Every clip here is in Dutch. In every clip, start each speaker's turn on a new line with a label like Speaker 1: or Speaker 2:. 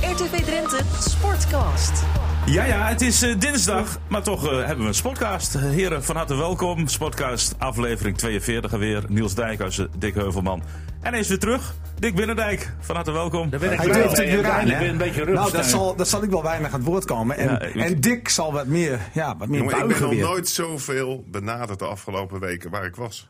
Speaker 1: RTV Drenthe Sportcast.
Speaker 2: Ja, ja, het is eh, dinsdag, maar toch eh, hebben we een sportcast. Heren, van harte welkom. Sportcast, aflevering 42 alweer. Niels Dijkhuis, Dick Heuvelman. En hij is weer terug, Dick Binnendijk. Van harte welkom.
Speaker 3: Daar ben ik
Speaker 4: Hij
Speaker 3: wel
Speaker 4: durft het
Speaker 3: bij.
Speaker 4: weer
Speaker 3: Ja,
Speaker 4: aan,
Speaker 3: Ik
Speaker 4: hè?
Speaker 3: ben een beetje eh.
Speaker 4: Nou,
Speaker 3: rustig.
Speaker 4: dat zal, dat zal ik wel weinig aan het woord komen. En,
Speaker 2: Ja, ik-
Speaker 4: en Dick zal wat meer, ja, wat meer
Speaker 5: Jongen, ik ben
Speaker 4: buigen
Speaker 5: nog
Speaker 4: weer.
Speaker 5: nooit zoveel benaderd de afgelopen weken waar ik was.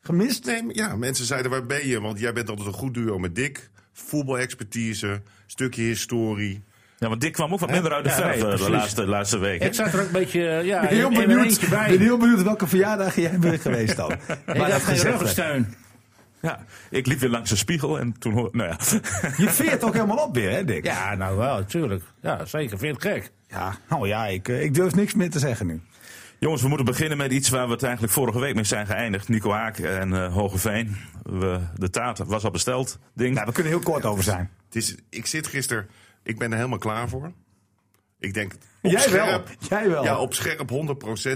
Speaker 4: Gemist?
Speaker 5: Nee, maar ja, mensen zeiden waar ben je? Want jij bent altijd een goed duo met Dick. Voetbalexpertise, stukje historie.
Speaker 2: Ja, want Dick kwam ook wat minder uit de
Speaker 3: Ja,
Speaker 2: verf
Speaker 3: nee,
Speaker 2: eh, de
Speaker 3: precies.
Speaker 2: laatste, laatste week. hè?
Speaker 3: Ik zat er ook een beetje eh, ja,
Speaker 4: Ik ben heel
Speaker 3: in mijn eentje
Speaker 4: benieuwd,
Speaker 3: bij.
Speaker 4: ben heel benieuwd welke verjaardag jij bent geweest dan.
Speaker 3: ik
Speaker 4: Maar
Speaker 3: had
Speaker 4: dat
Speaker 3: geen
Speaker 4: gezegd werd.
Speaker 3: ruggensteun.
Speaker 2: Ja, ik liep weer langs de spiegel en toen hoor... Nou ja.
Speaker 4: Je veert ook helemaal op weer, hè Dick?
Speaker 3: Ja, nou wel, tuurlijk. Ja, zeker. Vind je het gek?
Speaker 4: Ja, nou ja, ik, eh, ik durf niks meer te zeggen nu.
Speaker 2: Jongens, we moeten beginnen met iets waar we het eigenlijk vorige week mee zijn geëindigd. Nico Haak en eh, Hogeveen. We, de taart was al besteld, ding.
Speaker 4: Nou, we kunnen heel kort over zijn.
Speaker 5: Het is, ik zit gisteren, ik ben er helemaal klaar voor. Ik denk, op
Speaker 4: Jij wel,
Speaker 5: scherp,
Speaker 4: jij wel.
Speaker 5: Ja, op scherp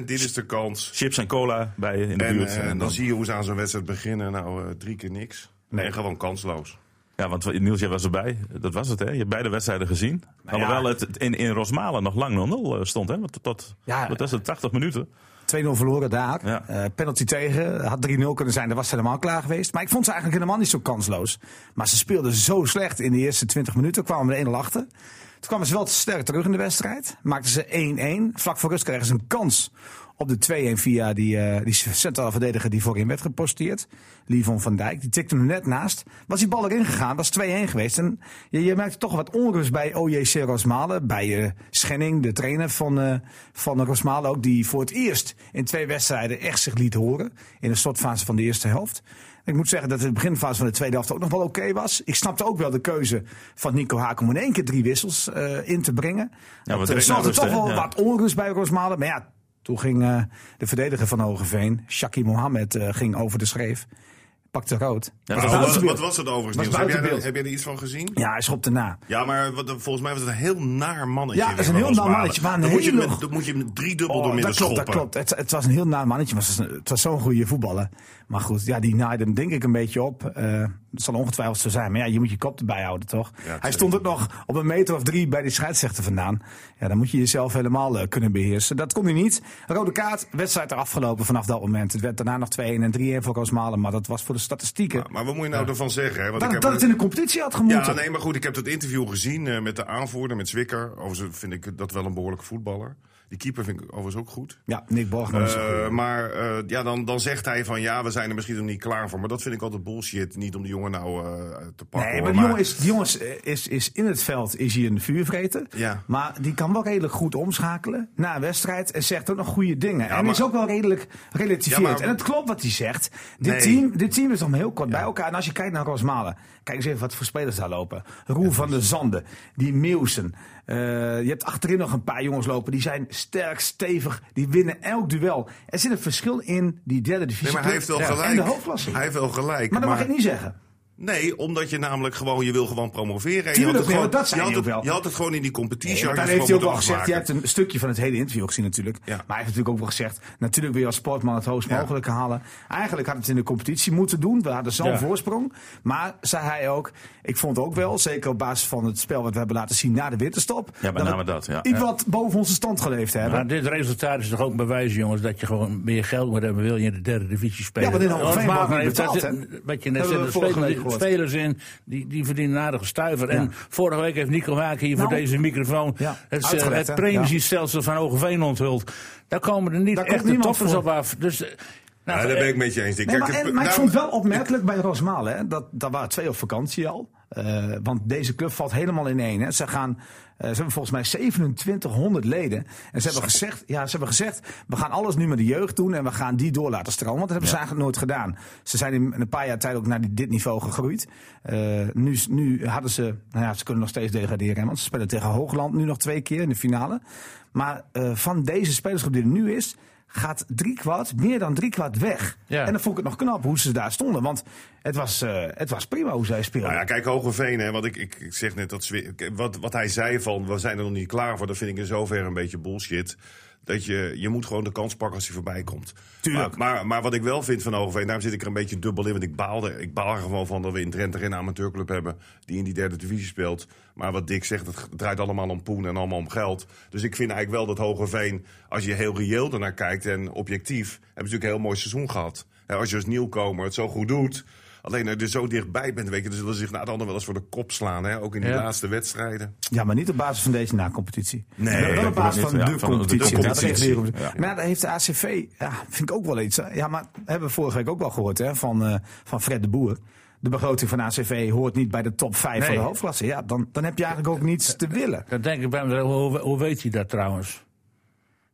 Speaker 5: 100%, dit is de kans.
Speaker 2: Chips en cola bij je in de
Speaker 5: En
Speaker 2: buurt.
Speaker 5: eh, dan, zie je hoe ze aan zo'n wedstrijd beginnen. Nou, eh, drie keer niks. Nee, gewoon kansloos.
Speaker 2: Ja, want we- Niels, jij was erbij. Dat was het, hè? Je hebt beide wedstrijden gezien. Alhoewel het het in, in Rosmalen nog lang 0-0 stond, hè? Want tot,
Speaker 4: Ja.
Speaker 2: wat was het, 80 minuten?
Speaker 4: 2-0 verloren daar.
Speaker 2: Ja.
Speaker 4: Eh, penalty tegen. Had 3-0 kunnen zijn, dan was ze helemaal klaar geweest. Maar ik vond ze eigenlijk helemaal niet zo kansloos. Maar ze speelden zo slecht in de eerste 20 minuten. Kwamen we 1-0 achter. Toen kwamen ze wel te sterk terug in de wedstrijd. Maakten ze 1-1. Vlak voor rust kregen ze een kans op de 2-1 via die, eh, die centrale verdediger die voorin werd geposteerd. Livon van Dijk. Die tikte hem net naast. Was die bal erin gegaan, was 2-1 geweest. En je, je merkte toch wat onrust bij OJC Rosmalen. Bij eh, Schenning, de trainer van, eh, van Rosmalen ook. Die voor het eerst in twee wedstrijden echt zich liet horen. In de slotfase van de eerste helft. Ik moet zeggen dat de beginfase van de tweede helft ook nog wel oké was. Ik snapte ook wel de keuze van Nico Haak om in één keer drie wissels eh, in te brengen.
Speaker 2: want
Speaker 4: Dat,
Speaker 2: er
Speaker 4: eh,
Speaker 2: is
Speaker 4: zorgde
Speaker 2: nou rust,
Speaker 4: toch wel
Speaker 2: hè? Ja.
Speaker 4: wat onrust bij Rosmalen. Maar ja, toen ging eh, de verdediger van Hogeveen, Shaki Mohammed, eh, ging over de schreef. Pakte rood.
Speaker 2: Ja,
Speaker 5: Maar
Speaker 2: dat was-
Speaker 5: wat, wat was het overigens, Niels? Heb jij,
Speaker 4: buitenbeeld.
Speaker 5: er- heb jij er iets van gezien?
Speaker 4: Ja, hij schopte na.
Speaker 5: Ja, maar wat, volgens mij was het een heel naar mannetje.
Speaker 4: Ja, het is een
Speaker 5: weer,
Speaker 4: heel
Speaker 5: Hans
Speaker 4: naar
Speaker 5: Malen.
Speaker 4: mannetje, maar een
Speaker 5: Dan moet, je
Speaker 4: hele-
Speaker 5: hem met, dan moet je hem driedubbel
Speaker 4: Oh,
Speaker 5: door midden
Speaker 4: dat klopt, dat
Speaker 5: schoppen.
Speaker 4: klopt. Het, het was een heel naar mannetje, maar het was, het was zo'n goede voetballer. Maar goed, ja, die naaide hem denk ik een beetje op. Eh, het zal ongetwijfeld zo zijn, maar ja, je moet je kop erbij houden, toch? Hij stond ook nog op een meter of drie bij die scheidsrechter vandaan. Ja, dan moet je jezelf helemaal eh, kunnen beheersen. Dat kon hij niet. Rode kaart, wedstrijd eraf gelopen vanaf dat moment. Het werd daarna nog 2-1 en 3-1 voor Roosmalen, maar dat was voor de statistieken.
Speaker 5: Maar wat moet je nou ervan zeggen? Hè? Want ik
Speaker 4: dat,
Speaker 5: heb
Speaker 4: dat het in de competitie had gemoeten.
Speaker 5: ja, nee, maar goed, ik heb dat interview gezien eh, met de aanvoerder, met Zwicker. Overigens vind ik dat wel een behoorlijke voetballer. Die keeper vind ik overigens ook goed.
Speaker 4: Ja, Nick Borgman is een goeie.
Speaker 5: Eh, maar eh, ja, dan, dan zegt hij van ja, we zijn er misschien nog niet klaar voor. Maar dat vind ik altijd bullshit. Niet om de jongen nou eh, te pakken.
Speaker 4: Nee, maar
Speaker 5: hoor,
Speaker 4: die jongen, is, die jongen is, is, is in het veld is hij een vuurvreter.
Speaker 5: Ja.
Speaker 4: Maar die kan wel redelijk goed omschakelen na een wedstrijd. En zegt ook nog goede dingen. en
Speaker 5: maar-
Speaker 4: is ook wel redelijk relativeerd.
Speaker 5: Ja, maar-
Speaker 4: En het klopt wat hij zegt. Dit,
Speaker 5: Nee.
Speaker 4: team, dit team is nog maar heel kort bij elkaar. En als je kijkt naar Rosmalen. Kijk eens even wat voor spelers daar lopen. Roel van der Zanden. Die Meeuwsen. Eh, je hebt achterin nog een paar jongens lopen. Die zijn sterk, stevig. Die winnen elk duel. Er zit een verschil in die derde divisie.
Speaker 5: Nee, maar hij heeft wel
Speaker 4: Ja.
Speaker 5: gelijk.
Speaker 4: En de hoofdklasse.
Speaker 5: Hij heeft wel gelijk.
Speaker 4: Maar dat mag ik niet zeggen.
Speaker 5: Nee, omdat je namelijk gewoon, je wil gewoon promoveren. En je
Speaker 4: Tuurlijk,
Speaker 5: had het
Speaker 4: nee,
Speaker 5: gewoon,
Speaker 4: maar dat zei
Speaker 5: je had
Speaker 4: hij ook
Speaker 5: het-
Speaker 4: wel.
Speaker 5: Je had het gewoon in die
Speaker 4: Nee,
Speaker 5: competitie.
Speaker 4: maar
Speaker 5: had
Speaker 4: daar
Speaker 5: je het
Speaker 4: heeft hij ook
Speaker 5: gewoon
Speaker 4: wel gezegd. Je
Speaker 5: moeten
Speaker 4: hebt een stukje van het hele interview gezien natuurlijk.
Speaker 5: Ja.
Speaker 4: Maar hij heeft natuurlijk ook wel gezegd. Natuurlijk wil je als sportman het hoogst
Speaker 5: Ja.
Speaker 4: mogelijke halen. Eigenlijk had het in de competitie moeten doen. We hadden zo'n
Speaker 3: Ja.
Speaker 4: voorsprong. Maar zei hij ook. Ik vond ook wel, zeker op basis van het spel wat we hebben laten zien na de winterstop.
Speaker 2: Ja, met
Speaker 4: we
Speaker 2: name dat, ja.
Speaker 4: Iets wat boven onze stand geleefd hebben.
Speaker 3: Maar dit resultaat is toch ook een bewijs, jongens, dat je gewoon meer geld moet hebben. Wil je in de derde divisie spelen?
Speaker 4: Ja, want in Heerenveen
Speaker 3: Hans
Speaker 4: wordt niet
Speaker 3: Wagner heeft
Speaker 4: betaald,
Speaker 3: dat- eh,
Speaker 4: hè?
Speaker 3: Wat je net
Speaker 4: Hebben
Speaker 3: zei,
Speaker 4: we
Speaker 3: er
Speaker 4: vorige
Speaker 3: spelen
Speaker 4: week gehoord.
Speaker 3: spelers in die, die verdienen een aardige stuiver.
Speaker 4: Ja.
Speaker 3: En vorige week heeft Nico Haak hier voor
Speaker 4: Nou,
Speaker 3: deze microfoon
Speaker 4: ja,
Speaker 3: het, eh,
Speaker 4: uitgelegd,
Speaker 3: het
Speaker 4: hè? Ja.
Speaker 3: premiestelsel van Hogeveen onthuld. Daar komen er niet
Speaker 4: Daar komt
Speaker 3: echt de
Speaker 4: niemand
Speaker 3: toppers
Speaker 4: voor.
Speaker 3: op af. Dus, eh, nou,
Speaker 5: Ja, daar ben ik met je eens. Ik
Speaker 4: Nee,
Speaker 5: kijk,
Speaker 4: maar,
Speaker 5: het-
Speaker 4: en- maar ik
Speaker 5: nou,
Speaker 4: vond het wel opmerkelijk bij Rosmalen. hè, Dat, daar waren twee op vakantie al. Eh, want deze club valt helemaal in één. Hè. Ze, gaan, eh, ze hebben volgens mij 2700 leden. En ze hebben, gezegd, ja, ze hebben gezegd, we gaan alles nu met de jeugd doen. En we gaan die door laten stromen. Want dat hebben ze eigenlijk nooit gedaan. Ze zijn in een paar jaar tijd ook naar die- dit niveau gegroeid. Eh, nu, nu hadden ze, nou ja, ze kunnen nog steeds degraderen. hè, Want ze spelen tegen Hoogland nu nog twee keer in de finale. Maar eh, van deze spelersgroep die er nu is, gaat driekwart, meer dan driekwart weg.
Speaker 3: Ja.
Speaker 4: En dan vond ik het nog knap hoe ze daar stonden. Want het was, eh, het was prima hoe zij speelden.
Speaker 5: Nou ja, kijk, Hogeveen, hè, want ik, ik, ik zeg net dat Zwi- wat, wat hij zei van we zijn er nog niet klaar voor, dat vind ik in zoverre een beetje bullshit. Dat je, je moet gewoon de kans pakken als hij voorbij komt.
Speaker 2: Tuurlijk.
Speaker 5: Maar, maar, maar wat ik wel vind van Overveen, daarom zit ik er een beetje dubbel in. Want ik baalde, ik baal er gewoon van dat we in Drenthe geen amateurclub hebben die in die derde divisie speelt. Maar wat Dick zegt, het draait allemaal om poen en allemaal om geld. Dus ik vind eigenlijk wel dat Hogeveen, als je heel reëel ernaar kijkt en objectief, hebben ze natuurlijk een heel mooi seizoen gehad. Hè, als je als nieuwkomer het zo goed doet. Alleen als je er zo dichtbij bent, weet je, dan zullen ze zich na het ander wel eens voor de kop slaan. Hè? Ook in die
Speaker 3: Ja.
Speaker 5: laatste wedstrijden.
Speaker 4: Ja, maar niet op basis van deze na-competitie.
Speaker 2: Nee,
Speaker 4: Maar wel
Speaker 2: dat
Speaker 4: op basis
Speaker 2: niet.
Speaker 4: van
Speaker 2: Ja,
Speaker 4: de
Speaker 2: van de
Speaker 4: competitie. Ja, dat is echt
Speaker 2: competitie.
Speaker 4: de competitie. Maar ja, daar heeft de ACV, ja, vind ik ook wel iets. hè. Ja, maar hebben we vorige week ook wel gehoord hè, van, eh, van Fred de Boer. De begroting van ACV hoort niet bij de top 5 van
Speaker 3: Nee.
Speaker 4: de hoofdklasse. Ja, dan, dan heb je eigenlijk ook niets te willen.
Speaker 3: Dan denk ik bij mezelf, hoe, hoe weet hij dat trouwens?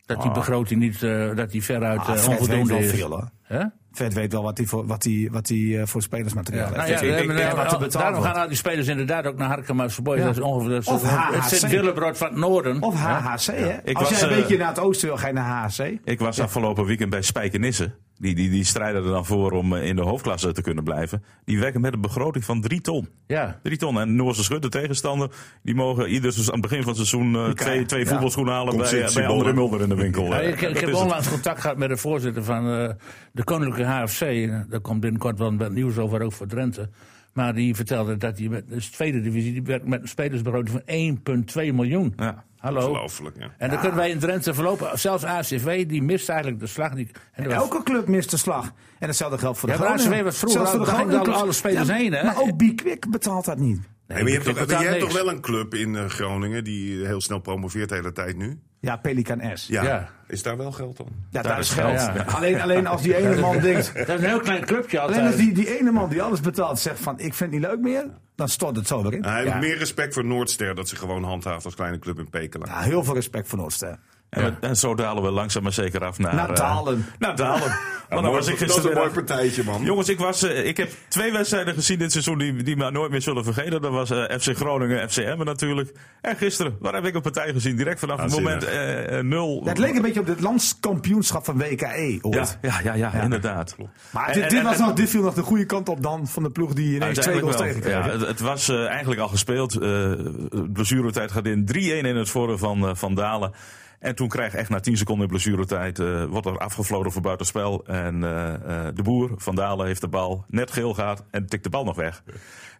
Speaker 3: Dat die begroting niet, eh, dat die veruit
Speaker 4: Ah,
Speaker 3: eh,
Speaker 4: Fred weet
Speaker 3: onvoldoende
Speaker 4: wel
Speaker 3: is.
Speaker 4: veel, hoor.
Speaker 3: Hè? Nou
Speaker 4: Fred weet wel wat hij voor, wat hij, wat hij, eh, voor spelersmateriaal
Speaker 3: Ja, nou
Speaker 4: heeft.
Speaker 3: ja,
Speaker 4: Dus
Speaker 3: we hebben-
Speaker 4: en
Speaker 3: we-
Speaker 4: wat er betaald
Speaker 3: daarom
Speaker 4: wordt.
Speaker 3: gaan al die spelers inderdaad ook naar Harkema's Boys.
Speaker 4: Ja.
Speaker 3: Dat is ongeveer dat is-
Speaker 4: Of
Speaker 3: het
Speaker 4: HHC.
Speaker 3: Sint-Willebrod van het Noorden.
Speaker 4: Of HHC, hè?
Speaker 2: Ik
Speaker 4: Als
Speaker 2: was,
Speaker 4: jij een
Speaker 2: eh,
Speaker 4: beetje naar het oosten wil, ga je naar HHC.
Speaker 2: Ik was afgelopen weekend bij Spijkenisse. Die, die, die strijden er dan voor om eh, in de hoofdklasse te kunnen blijven. Die werken met een begroting van 3 ton.
Speaker 3: Ja.
Speaker 2: 3 ton. En Noorse Schut, de tegenstander, die mogen ieder seizoen- aan het begin van het seizoen eh, twee, twee
Speaker 4: ja.
Speaker 2: voetbalschoenen halen bij, eh, bij
Speaker 5: Conceptiebonnen.
Speaker 2: André Mulder in de winkel.
Speaker 3: Ja,
Speaker 2: Eh,
Speaker 3: ik, ik
Speaker 2: dat
Speaker 3: heb
Speaker 2: is het.
Speaker 3: onlangs contact gehad met de voorzitter van eh, de Koninklijke HFC. eh, Daar komt binnenkort wel wat nieuws over, ook voor Drenthe. Maar die vertelde dat hij met de tweede divisie die werkt met een spelersbegroting van 1,2 miljoen.
Speaker 2: Ja.
Speaker 3: Hallo.
Speaker 5: Ongelooflijk, ja.
Speaker 3: En dan kunnen wij in Drenthe verlopen. Zelfs ACV, die mist eigenlijk de slag. Die, en dat was-
Speaker 4: Elke club mist de slag. En hetzelfde geldt voor de
Speaker 3: Ja, maar
Speaker 4: Groningen.
Speaker 3: ACW was vroeger
Speaker 4: Zelfs voor
Speaker 3: al- daar gingen
Speaker 4: Groningen-
Speaker 3: alle spelers heen, hè?
Speaker 4: Maar ook Bikwik betaalt dat niet.
Speaker 5: Hey, maar je hebt,
Speaker 3: die
Speaker 5: toch,
Speaker 3: betaalt
Speaker 5: je hebt toch
Speaker 3: niks.
Speaker 5: wel een club in eh, Groningen die heel snel promoveert de hele tijd nu?
Speaker 4: Ja, Pelikan S. Ja,
Speaker 3: Ja.
Speaker 5: Is daar wel geld dan?
Speaker 4: daar is geld.
Speaker 3: ja.
Speaker 4: Alleen, alleen als die ene man denkt...
Speaker 3: Dat is een heel klein clubje altijd.
Speaker 4: Alleen als die, die ene man die alles betaalt zegt van ik vind het niet leuk meer, dan stort het zo weer in.
Speaker 5: Nou, hij
Speaker 4: ja.
Speaker 5: heeft meer respect voor Noordster dat ze gewoon handhaaft als kleine club in Pekela.
Speaker 4: Ja, heel veel respect voor Noordster.
Speaker 2: En, we- en zo dalen we langzaam maar zeker af naar...
Speaker 4: Naar
Speaker 2: eh,
Speaker 4: Dalen.
Speaker 2: naar Dalen. Maar dan
Speaker 5: mooi-
Speaker 2: was ik
Speaker 5: dat is een mooi
Speaker 2: gisteren...
Speaker 5: partijtje, man.
Speaker 2: Jongens, ik, was, eh, ik heb twee wedstrijden gezien dit seizoen die, die me nooit meer zullen vergeten. Dat was eh, FC Groningen, FC Emmen natuurlijk. En gisteren, waar heb ik een partij gezien? Direct vanaf het moment
Speaker 5: Waanzinnig.
Speaker 2: eh, eh, nul.
Speaker 4: Ja, het leek een beetje op het landskampioenschap van WKE.
Speaker 2: ja,
Speaker 4: ooit.
Speaker 2: ja, ja, ja, inderdaad.
Speaker 4: Maar
Speaker 2: En-
Speaker 4: dit,
Speaker 2: en-
Speaker 4: dit,
Speaker 2: en-
Speaker 4: was nog, dit viel nog de goede kant op dan van de ploeg die ineens twee goals
Speaker 2: Uiteindelijk wel.
Speaker 4: tegenkreeg.
Speaker 2: Ja, het, het was eh, eigenlijk al gespeeld. Eh, de blessuretijd gaat in 3-1 in het voordeel van, eh, van Dalen. En toen krijg je echt na 10 seconden in blessuretijd eh wordt er afgevloden voor buitenspel. En eh, eh, de boer van Dalen heeft de bal net geel gehad en tikt de bal nog weg.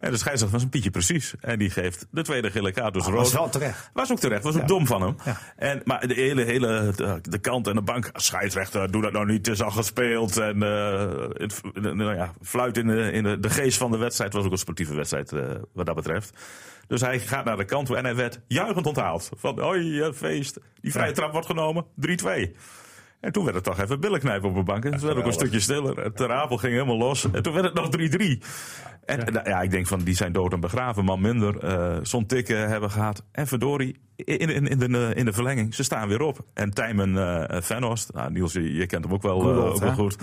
Speaker 2: En de scheidsrechter was een pietje precies. En die geeft de tweede gele kaart. Dus rood.
Speaker 4: Ah, was wel terecht.
Speaker 2: Was ook terecht. Was ook dom van hem. En, maar de hele, hele de, de kant en de bank. Scheidsrechter, doe dat nou niet. Het is al gespeeld. En eh, het, nou ja, fluit in, de, in de, de geest van de wedstrijd. was ook een sportieve wedstrijd eh, wat dat betreft. Dus hij gaat naar de kant toe en hij werd juichend onthaald. Van, hoi, eh, feest. Die vrije trap wordt genomen. 3-2. En toen werd het toch even billenknijpen op de bank. En toen werd het ook een stukje stiller. En Ter Apel ging helemaal los. En toen werd het nog 3-3. En en, nou ja, ik denk van, die zijn dood en begraven. Man minder. eh Zon tikken hebben gehad. En verdorie, in, in, in, de, eh, in de verlenging. Ze staan weer op. En Tijmen eh Venhorst, nou, Niels, je, je kent hem ook wel, eh,
Speaker 4: Goedold,
Speaker 2: ook wel
Speaker 4: hè?
Speaker 2: goed.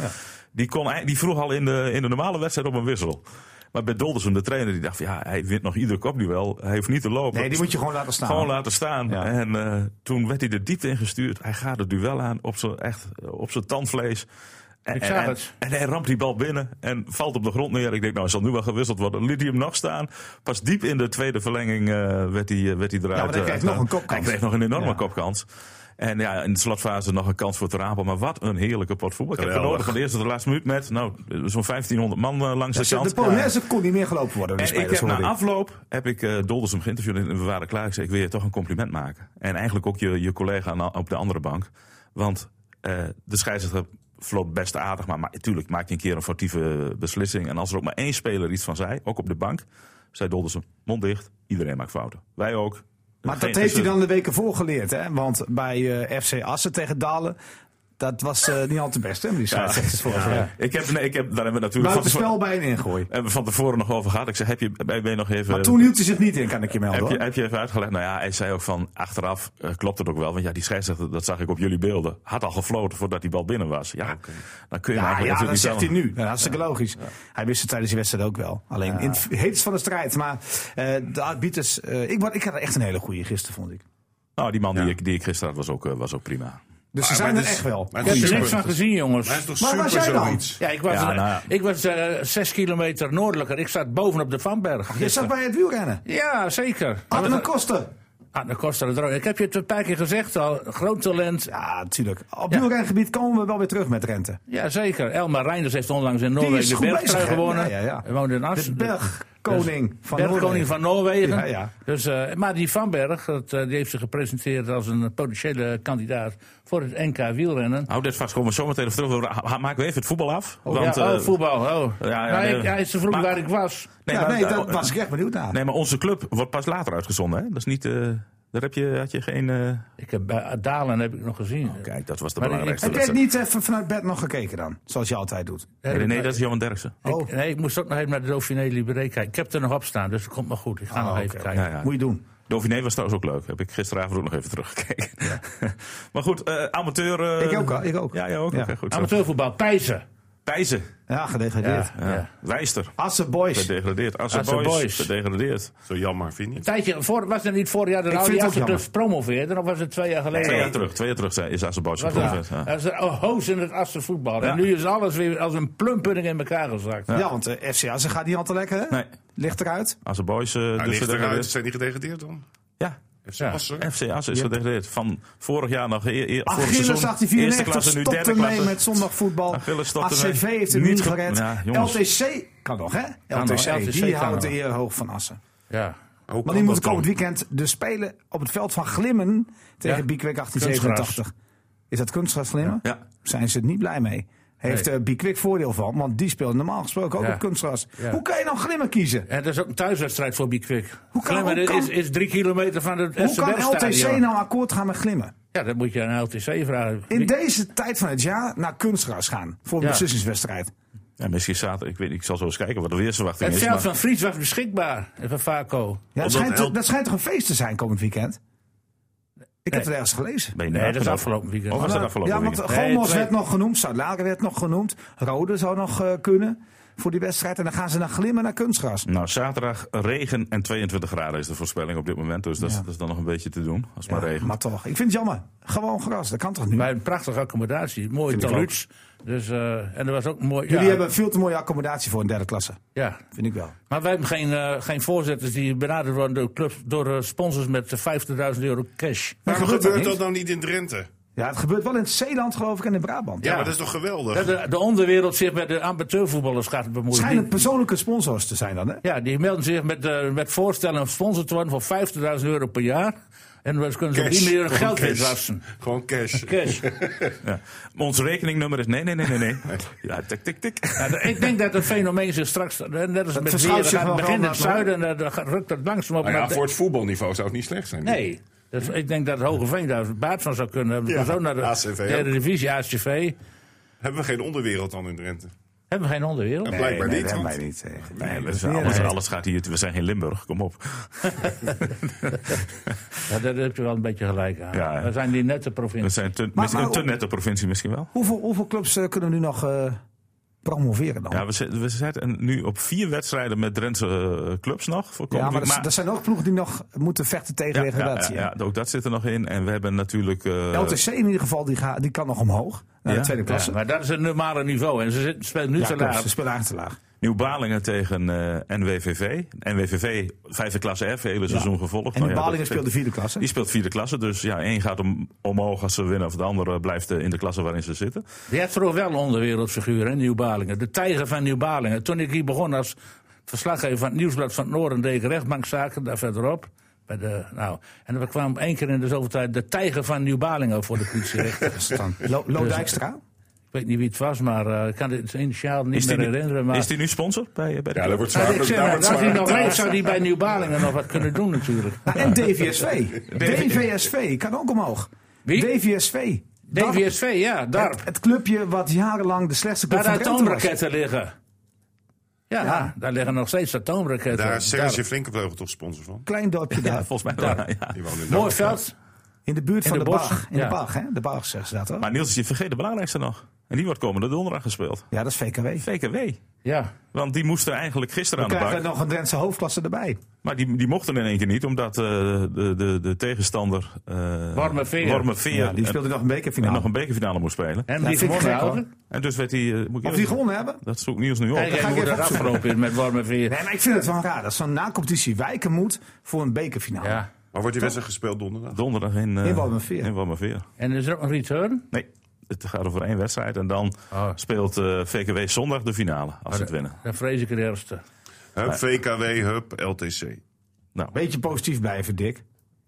Speaker 2: Die, kon, ei- die vroeg al in de, in de normale wedstrijd op een wissel. Maar bij Doldersen, de trainer, die dacht van, ja, hij wint nog ieder kopduel. Hij hoeft niet te lopen. Dus
Speaker 4: Nee, die moet je gewoon laten staan.
Speaker 2: Gewoon laten staan.
Speaker 4: Ja.
Speaker 2: En eh, toen werd hij de diepte ingestuurd. Hij gaat het duel aan op zijn, echt, eh, op zijn tandvlees. En,
Speaker 3: Ik zag
Speaker 2: en,
Speaker 3: het.
Speaker 2: en hij ramt die bal binnen en valt op de grond neer. Ik denk, nou, hij zal nu wel gewisseld worden. Liet hij hem nog staan. Pas diep in de tweede verlenging eh, werd, hij, eh, werd hij eruit.
Speaker 4: Ja, maar hij
Speaker 2: eh,
Speaker 4: kreeg
Speaker 2: gedaan.
Speaker 4: nog een kopkans.
Speaker 2: Hij kreeg nog een enorme
Speaker 4: Ja.
Speaker 2: kopkans. En ja, in de slotfase nog een kans voor te rapen. Maar wat een heerlijke pot voetbal. Ik heb
Speaker 5: Geweldig.
Speaker 2: genoten van de eerste tot de laatste minuut met nou, zo'n 1500 man eh, langs de kant.
Speaker 4: De Polonaise kon niet meer gelopen worden. door De
Speaker 2: En ik
Speaker 4: spelers,
Speaker 2: heb na
Speaker 4: hoorde ik.
Speaker 2: afloop heb ik eh Doldersum geïnterviewd en we waren klaar. Ik zei, ik wil je toch een compliment maken. En eigenlijk ook je, je collega aan- op de andere bank. Want eh, de scheidsrechter vloot best aardig. Maar natuurlijk maak je een keer een foutieve beslissing. En als er ook maar één speler iets van zei, ook op de bank, zei Doldersum, mond dicht, iedereen maakt fouten. Wij ook.
Speaker 4: Maar
Speaker 2: Geen-
Speaker 4: dat heeft hij
Speaker 2: dus,
Speaker 4: dan de weken voor geleerd, hè? Want bij eh, FC Assen tegen Dalen, dat was eh, niet al te best, hè? met Die scheidsrechters voor. Ja.
Speaker 2: Ik heb, nee, ik heb, daar hebben we natuurlijk van tevoren,
Speaker 4: Buitenspel bij een ingooi.
Speaker 2: hebben we van tevoren nog over gehad. Ik zei, heb je, ben je nog even...
Speaker 4: Maar toen hield hij zich niet in, kan ik je melden.
Speaker 2: Heb je,
Speaker 4: hoor.
Speaker 2: heb je even uitgelegd? Nou ja, hij zei ook van achteraf eh, klopt het ook wel. Want ja, die scheidsrechter, dat zag ik op jullie beelden, had al gefloten voordat die bal binnen was. Ja, dan kun je hem eigenlijk
Speaker 4: Ja, ja, dat
Speaker 2: natuurlijk
Speaker 4: zegt hij
Speaker 2: niet
Speaker 4: nu. Ja, hartstikke logisch. Hij wist het tijdens die wedstrijd ook wel. Alleen in het heetst van de strijd. Maar eh, de arbiters... eh, ik, word- ik had er echt een hele goede gisteren, vond ik.
Speaker 2: Nou, die man die, ik, die ik gisteren had, was ook, eh, was ook prima.
Speaker 4: Dus ze
Speaker 5: Maar-
Speaker 4: zijn
Speaker 5: maar
Speaker 4: er
Speaker 5: het is-
Speaker 4: echt wel.
Speaker 5: maar
Speaker 3: Ik
Speaker 5: het is
Speaker 3: heb er
Speaker 5: super-
Speaker 3: niks van gezien, jongens.
Speaker 5: Maar het is toch
Speaker 4: Waar was
Speaker 5: super
Speaker 4: jij dan?
Speaker 5: zoiets?
Speaker 3: Ja, ik was,
Speaker 2: Ja,
Speaker 3: eh,
Speaker 2: nou ja.
Speaker 3: ik was eh, zes kilometer noordelijker. Ik zat bovenop de Vanberg.
Speaker 4: Je zat bij het wielrennen.
Speaker 3: Ja, zeker.
Speaker 4: Adem Koster.
Speaker 3: Ah, dan kost dat het Ik heb je het een paar keer gezegd al. Groot talent.
Speaker 4: Ja, natuurlijk. Op
Speaker 3: Ja.
Speaker 4: wielrengebied komen we wel weer terug met Rente.
Speaker 3: Ja, zeker. Elmar Reinders heeft onlangs in
Speaker 4: is
Speaker 3: Noorwegen de
Speaker 4: goed bezig,
Speaker 3: Bergtrui
Speaker 4: hè?
Speaker 3: gewonnen.
Speaker 4: Ja, ja, ja.
Speaker 3: Hij woonde in
Speaker 4: De
Speaker 3: Amsterdam.
Speaker 4: bergkoning van
Speaker 3: Bergkoning
Speaker 4: Noorwegen.
Speaker 3: van Noorwegen.
Speaker 4: Ja, ja.
Speaker 3: Dus, eh, maar die Van Berg, dat, eh, die heeft zich gepresenteerd als een potentiële kandidaat voor het NK wielrennen.
Speaker 2: Hou dit vast, komen we zo meteen even terug. We ha- Maken we even het voetbal af. Want,
Speaker 3: ja, oh,
Speaker 2: eh,
Speaker 3: voetbal. Oh.
Speaker 2: ja, ja,
Speaker 3: Nou,
Speaker 2: nee.
Speaker 3: ik- hij is te vroeg
Speaker 2: Maar-
Speaker 3: waar ik was.
Speaker 2: nee,
Speaker 4: ja,
Speaker 2: maar,
Speaker 4: nee, daar was ik echt benieuwd naar.
Speaker 2: nee, maar onze club wordt pas later uitgezonden. Hè? Dat is niet, eh, daar heb je, had je geen... eh,
Speaker 3: Ik heb, bij Dalen heb ik nog gezien.
Speaker 2: kijk, dat was de
Speaker 3: Maar ik-
Speaker 2: belangrijkste.
Speaker 4: heb jij het
Speaker 2: wedstrijd.
Speaker 4: niet even vanuit bed nog gekeken dan? Zoals je altijd doet.
Speaker 2: Nee, nee, dat is Johan Derksen.
Speaker 3: Ik-
Speaker 4: Oh.
Speaker 3: nee, ik moest ook nog even naar de Dauphiné Libéré kijken. Ik heb er nog op staan, dus het komt maar goed. Ik ga nog
Speaker 4: Oh, Ah, oké.
Speaker 3: even kijken.
Speaker 2: Ja, ja.
Speaker 4: Moet je doen.
Speaker 2: Dauphiné was trouwens ook leuk. Heb ik gisteravond ook nog even teruggekeken. maar goed, eh, amateur... eh,
Speaker 4: Ik ook, al, ik ook.
Speaker 2: Ja, jij ook.
Speaker 4: Ja.
Speaker 2: Oké, goed zo.
Speaker 3: Amateurvoetbal, Pijzen.
Speaker 2: Pijzen.
Speaker 4: Ja, gedegradeerd.
Speaker 2: Ja.
Speaker 3: Ja.
Speaker 2: Wijster.
Speaker 4: Assen Boys.
Speaker 2: Gedegradeerd. Assen
Speaker 3: Assen
Speaker 2: Boys.
Speaker 3: Boys.
Speaker 2: Gedegradeerd.
Speaker 5: Zo jammer, vind je
Speaker 3: Een
Speaker 5: niet?
Speaker 3: tijdje, voor, was het niet vorig jaar de
Speaker 4: Ik
Speaker 3: Audi
Speaker 4: vind het ook
Speaker 3: Assertus promoveerde? Dan was het twee jaar geleden.
Speaker 2: Twee jaar terug. Twee jaar terug zijn- is Assen Boys
Speaker 3: Was
Speaker 2: gepromoveerd.
Speaker 3: het,
Speaker 2: Ja.
Speaker 3: was er oh, hoos in het Assen voetbal.
Speaker 2: Ja.
Speaker 3: En nu is alles weer als een plumpudding in elkaar gezakt.
Speaker 4: Ja, want eh, FC Assen gaat niet al te lekker, hè?
Speaker 2: Nee,
Speaker 4: Ligt eruit.
Speaker 2: Assen Boys. eh,
Speaker 5: Hij
Speaker 2: dus
Speaker 5: ligt eruit.
Speaker 2: gedegradeerd.
Speaker 5: Zijn die gedegradeerd dan?
Speaker 2: Ja.
Speaker 5: FC
Speaker 3: Ja.
Speaker 5: Assen?
Speaker 2: FC Assen is gedegradeerd. Van vorig jaar nog. Eer, eer, vorig
Speaker 4: Achilles
Speaker 2: seizoen, eerste
Speaker 4: 1894
Speaker 2: klasse, nu derde
Speaker 4: stopte mee
Speaker 2: klasse.
Speaker 4: met zondagvoetbal.
Speaker 2: Achilles stopte
Speaker 4: ACV
Speaker 2: mee.
Speaker 4: heeft het
Speaker 2: Niet
Speaker 4: niet
Speaker 2: ge-
Speaker 4: gered.
Speaker 2: Ja, jongens.
Speaker 4: LTC kan nog, hè?
Speaker 3: nog,
Speaker 4: LTC,
Speaker 3: LTC
Speaker 4: die
Speaker 3: kan
Speaker 4: houdt de
Speaker 3: nog.
Speaker 4: eer hoog van Assen.
Speaker 3: Ja.
Speaker 5: Hoe
Speaker 4: Maar
Speaker 5: kan
Speaker 4: die
Speaker 5: dat
Speaker 4: moeten
Speaker 5: dan?
Speaker 4: komend weekend dus spelen op het veld van Glimmen tegen
Speaker 3: Ja.
Speaker 4: Biekwik 1887. Is dat kunstgras Glimmen?
Speaker 2: Ja.
Speaker 4: Zijn ze het niet blij mee. Heeft
Speaker 3: Nee.
Speaker 4: eh Biekwik voordeel van, want die speelt normaal gesproken ook
Speaker 3: Ja.
Speaker 4: op kunstgras.
Speaker 3: Ja.
Speaker 4: Hoe kan je nou Glimmen kiezen?
Speaker 3: En dat is ook een thuiswedstrijd voor Bikwik.
Speaker 4: Hoe kan-
Speaker 3: Glimmen
Speaker 4: hoe kan-
Speaker 3: is, is drie kilometer van het
Speaker 4: Hoe kan LTC
Speaker 3: SCW-stadion.
Speaker 4: nou akkoord gaan met Glimmen?
Speaker 3: Ja, dat moet je aan LTC vragen.
Speaker 4: In
Speaker 3: Die-
Speaker 4: deze tijd van het jaar naar kunstgras gaan voor een
Speaker 3: Ja.
Speaker 4: beslissingswedstrijd.
Speaker 2: Ja, misschien zaterdag. Ik, weet, niet, ik zal zo eens kijken wat de weersverwachting
Speaker 3: het
Speaker 2: is.
Speaker 3: veld
Speaker 2: maar-
Speaker 3: van Fries was beschikbaar. En van Vaco.
Speaker 4: Ja, dat,
Speaker 5: Omdat
Speaker 4: schijnt,
Speaker 5: El-
Speaker 4: dat schijnt toch een feest te zijn komend weekend? Ik heb het ergens gelezen.
Speaker 2: Ben je
Speaker 3: Nee,
Speaker 2: nou
Speaker 3: dat is
Speaker 2: gedaan?
Speaker 3: afgelopen weekend.
Speaker 2: Of was dat
Speaker 4: Maar-
Speaker 2: afgelopen
Speaker 4: Nou, ja, want
Speaker 2: weekend?
Speaker 3: Nee,
Speaker 4: Gomos
Speaker 3: twee-
Speaker 4: werd nog genoemd, Zuidlaken werd nog genoemd. Rode zou nog eh, kunnen voor die wedstrijd. En dan gaan ze naar glimmen naar kunstgras.
Speaker 2: Nou, zaterdag regen en 22 graden is de voorspelling op dit moment. Dus dat, is,
Speaker 4: Ja.
Speaker 2: dat is dan nog een beetje te doen. Als het maar
Speaker 4: Ja,
Speaker 2: regent.
Speaker 4: maar toch, ik vind het jammer. Gewoon gras, dat kan toch niet?
Speaker 3: Bij een prachtige accommodatie. Mooi
Speaker 2: ik
Speaker 3: taluuts. Dus, eh, en er was ook een mooi...
Speaker 4: Jullie
Speaker 3: ja,
Speaker 4: hebben veel te mooie accommodatie voor een derde klasse.
Speaker 3: Ja,
Speaker 4: Vind ik wel.
Speaker 3: Maar wij hebben geen, eh, geen voorzitters die benaderd worden door, clubs, door eh, sponsors met eh, 50.000 euro cash.
Speaker 5: Waarom
Speaker 4: gebeurt dat
Speaker 5: gebeurt dat
Speaker 4: niet?
Speaker 5: nou niet in Drenthe?
Speaker 4: Ja, het gebeurt wel in het Zeeland, geloof ik, en in Brabant.
Speaker 5: Ja,
Speaker 4: Ja.
Speaker 5: maar dat is toch geweldig?
Speaker 3: Dat de, de onderwereld zich met de amateurvoetballers gaat bemoeien.
Speaker 4: Schijnen het
Speaker 3: Die-
Speaker 4: persoonlijke sponsors te zijn dan, hè?
Speaker 3: ja, die melden zich met, eh, met voorstellen om sponsor te worden voor 50.000 euro per jaar. En dan kunnen ze op die
Speaker 5: Cash.
Speaker 3: manier hun
Speaker 5: Gewoon
Speaker 3: geld
Speaker 5: cash.
Speaker 3: witwassen.
Speaker 5: Gewoon cash.
Speaker 3: Cash.
Speaker 2: Ja. Maar Ons rekeningnummer is nee, nee, nee, nee, nee. Ja, tik, tik, tik.
Speaker 3: Ja, de- ik denk dat het fenomeen zich straks, eh, net als met
Speaker 4: verschuift
Speaker 3: weer,
Speaker 4: zich wel
Speaker 3: gaat beginnen in het
Speaker 4: wel naar
Speaker 3: zuiden en eh, dan gaat- rukt het langzaam op.
Speaker 5: Nou
Speaker 3: naar
Speaker 5: ja,
Speaker 3: de-
Speaker 5: voor het voetbalniveau zou het niet slecht zijn.
Speaker 3: Nee. Dus ik denk dat Hogeveen daar baat van zou kunnen hebben.
Speaker 5: Ja,
Speaker 3: Dan zo naar de
Speaker 5: ACV ook.
Speaker 3: derde divisie, ACV.
Speaker 5: Hebben we geen onderwereld dan in Drenthe?
Speaker 3: Hebben we geen onderwereld?
Speaker 5: Ja, blijkbaar
Speaker 4: nee,
Speaker 5: niet.
Speaker 4: dat
Speaker 5: want-
Speaker 4: wij niet. eh.
Speaker 2: Nee, dat is alles, alles gaat hier. We zijn geen Limburg, kom op.
Speaker 3: Ja, daar heb je wel een beetje gelijk aan.
Speaker 2: Ja, hè.
Speaker 3: We zijn die nette
Speaker 2: We
Speaker 3: provincie.
Speaker 2: zijn te,
Speaker 4: Maar-
Speaker 2: misschien-
Speaker 4: maar-
Speaker 2: een te nette provincie misschien wel.
Speaker 4: Hoeveel, hoeveel clubs eh, kunnen nu nog eh, promoveren dan?
Speaker 2: Ja, we zitten, we zitten nu op vier wedstrijden met Drentse eh, clubs nog. Voor
Speaker 4: Ja,
Speaker 2: komend
Speaker 4: maar
Speaker 2: week.
Speaker 4: dat, dat zijn ook ploegen die nog moeten vechten tegen
Speaker 2: ja, ja,
Speaker 4: degradatie.
Speaker 2: ja,
Speaker 4: hè?
Speaker 2: ja, ook dat zit er nog in. En we hebben natuurlijk... eh,
Speaker 4: LTC in ieder geval, die, ga, die kan nog omhoog. Naar
Speaker 2: Ja?
Speaker 4: de tweede klasse.
Speaker 3: Ja, maar dat is het normale niveau. En ze zitten- spelen nu
Speaker 4: Ja,
Speaker 3: te
Speaker 4: klopt,
Speaker 3: laat.
Speaker 4: Ze spelen eigenlijk te laag.
Speaker 2: Nieuw-Balingen tegen eh, NWVV. NWVV, vijfde klasse F, hele seizoen gevolgd.
Speaker 4: En
Speaker 2: Nou
Speaker 4: de
Speaker 2: ja,
Speaker 4: Balingen
Speaker 2: dat-
Speaker 4: speelt de vierde klasse.
Speaker 2: Die speelt vierde klasse, dus ja, één gaat om, omhoog als ze winnen, of de andere blijft eh, in de klasse waarin ze zitten.
Speaker 3: Je hebt toch wel een onderwereldfiguur in Nieuw-Balingen. De tijger van Nieuw-Balingen. Toen ik hier begon als verslaggever van het Nieuwsblad van het Noorden... deed ik rechtbankzaken daar verderop. Bij de, nou, en er kwam één keer in de zoveel tijd de tijger van Nieuw-Balingen voor de politierechter.
Speaker 4: Dus dan Lo, Lo
Speaker 3: Dus-
Speaker 4: Dijkstra.
Speaker 3: ik weet niet wie het was, maar eh, ik kan het initiaal niet
Speaker 2: Is die,
Speaker 3: meer
Speaker 2: nu-
Speaker 3: herinneren. Maar
Speaker 2: is die nu sponsor bij, bij de
Speaker 5: Ja,
Speaker 2: club?
Speaker 5: dat wordt
Speaker 3: Nou,
Speaker 5: zwaar.
Speaker 3: ik zeg
Speaker 5: daar
Speaker 3: maar,
Speaker 5: wordt
Speaker 3: als hij
Speaker 5: zwaar
Speaker 3: nog
Speaker 5: betaald.
Speaker 3: leeft, zou hij bij Nieuw-Balingen nog wat kunnen doen natuurlijk.
Speaker 4: Nou, en DVSV. DVSV kan ook omhoog.
Speaker 3: Wie?
Speaker 4: DVSV. Darp.
Speaker 3: DVSV, ja, DARP.
Speaker 4: Het, het clubje wat jarenlang de slechtste club
Speaker 3: Waar de
Speaker 4: van Drenthe was.
Speaker 3: atoomraketten liggen. Ja, daar liggen nog steeds atoomraketten.
Speaker 5: Daar is Serge
Speaker 3: Daar.
Speaker 5: Flinkenvleugel toch sponsor van?
Speaker 4: Klein dorpje
Speaker 2: Ja,
Speaker 4: daar.
Speaker 2: volgens mij wel, ja.
Speaker 5: Die woont in
Speaker 3: Mooi
Speaker 5: Drenthe.
Speaker 3: veld.
Speaker 4: In de buurt van
Speaker 3: de
Speaker 4: de,
Speaker 3: bos.
Speaker 4: Bach. In
Speaker 3: Ja.
Speaker 4: de Bach, hè? De Bach zeggen ze dat hoor.
Speaker 2: Maar Niels, je vergeet de belangrijkste nog. En die wordt komende donderdag gespeeld.
Speaker 4: Ja, dat is VKW. We
Speaker 2: VKW.
Speaker 3: Ja.
Speaker 2: Want die moesten eigenlijk gisteren aan de
Speaker 4: krijgen
Speaker 2: bak.
Speaker 4: nog een Drentse hoofdklasse erbij.
Speaker 2: Maar die, die mochten in één keer niet, omdat eh, de, de, de tegenstander... eh,
Speaker 3: Warme Veer.
Speaker 2: Warme Veer
Speaker 4: Ja, die
Speaker 2: en-
Speaker 4: speelde nog een
Speaker 2: en
Speaker 4: bekerfinale.
Speaker 2: nog een bekerfinale moest spelen.
Speaker 3: En
Speaker 4: Ja,
Speaker 3: die
Speaker 4: vind ik
Speaker 3: gewonnen
Speaker 4: gek, hoor.
Speaker 3: houden.
Speaker 2: En dus werd hij... eh, moet ik
Speaker 4: Of
Speaker 2: eerlijk-
Speaker 4: die gewonnen eh, hebben?
Speaker 2: Dat zoekt Niels nu op.
Speaker 3: Kijk,
Speaker 4: ga ik
Speaker 3: hij moet
Speaker 4: even
Speaker 3: er
Speaker 4: opzoeken.
Speaker 3: afgelopen is met warme veer.
Speaker 4: Nee, maar ik vind het wel raar dat zo'n nacompetitie wijken moet voor een bekerfinale.
Speaker 3: Ja.
Speaker 5: Maar wordt die wedstrijd gespeeld donderdag?
Speaker 2: Donderdag in, eh
Speaker 4: In Walmerveer.
Speaker 2: in Walmerveer.
Speaker 3: En is er ook een return?
Speaker 2: Nee, het gaat over één wedstrijd. En dan
Speaker 3: Oh.
Speaker 2: speelt eh, VKW zondag de finale, als ze het winnen.
Speaker 3: Dan vrees ik het ergste.
Speaker 5: Hup, VKW, hup, LTC.
Speaker 2: Nou,
Speaker 4: Beetje positief blijven, Dick.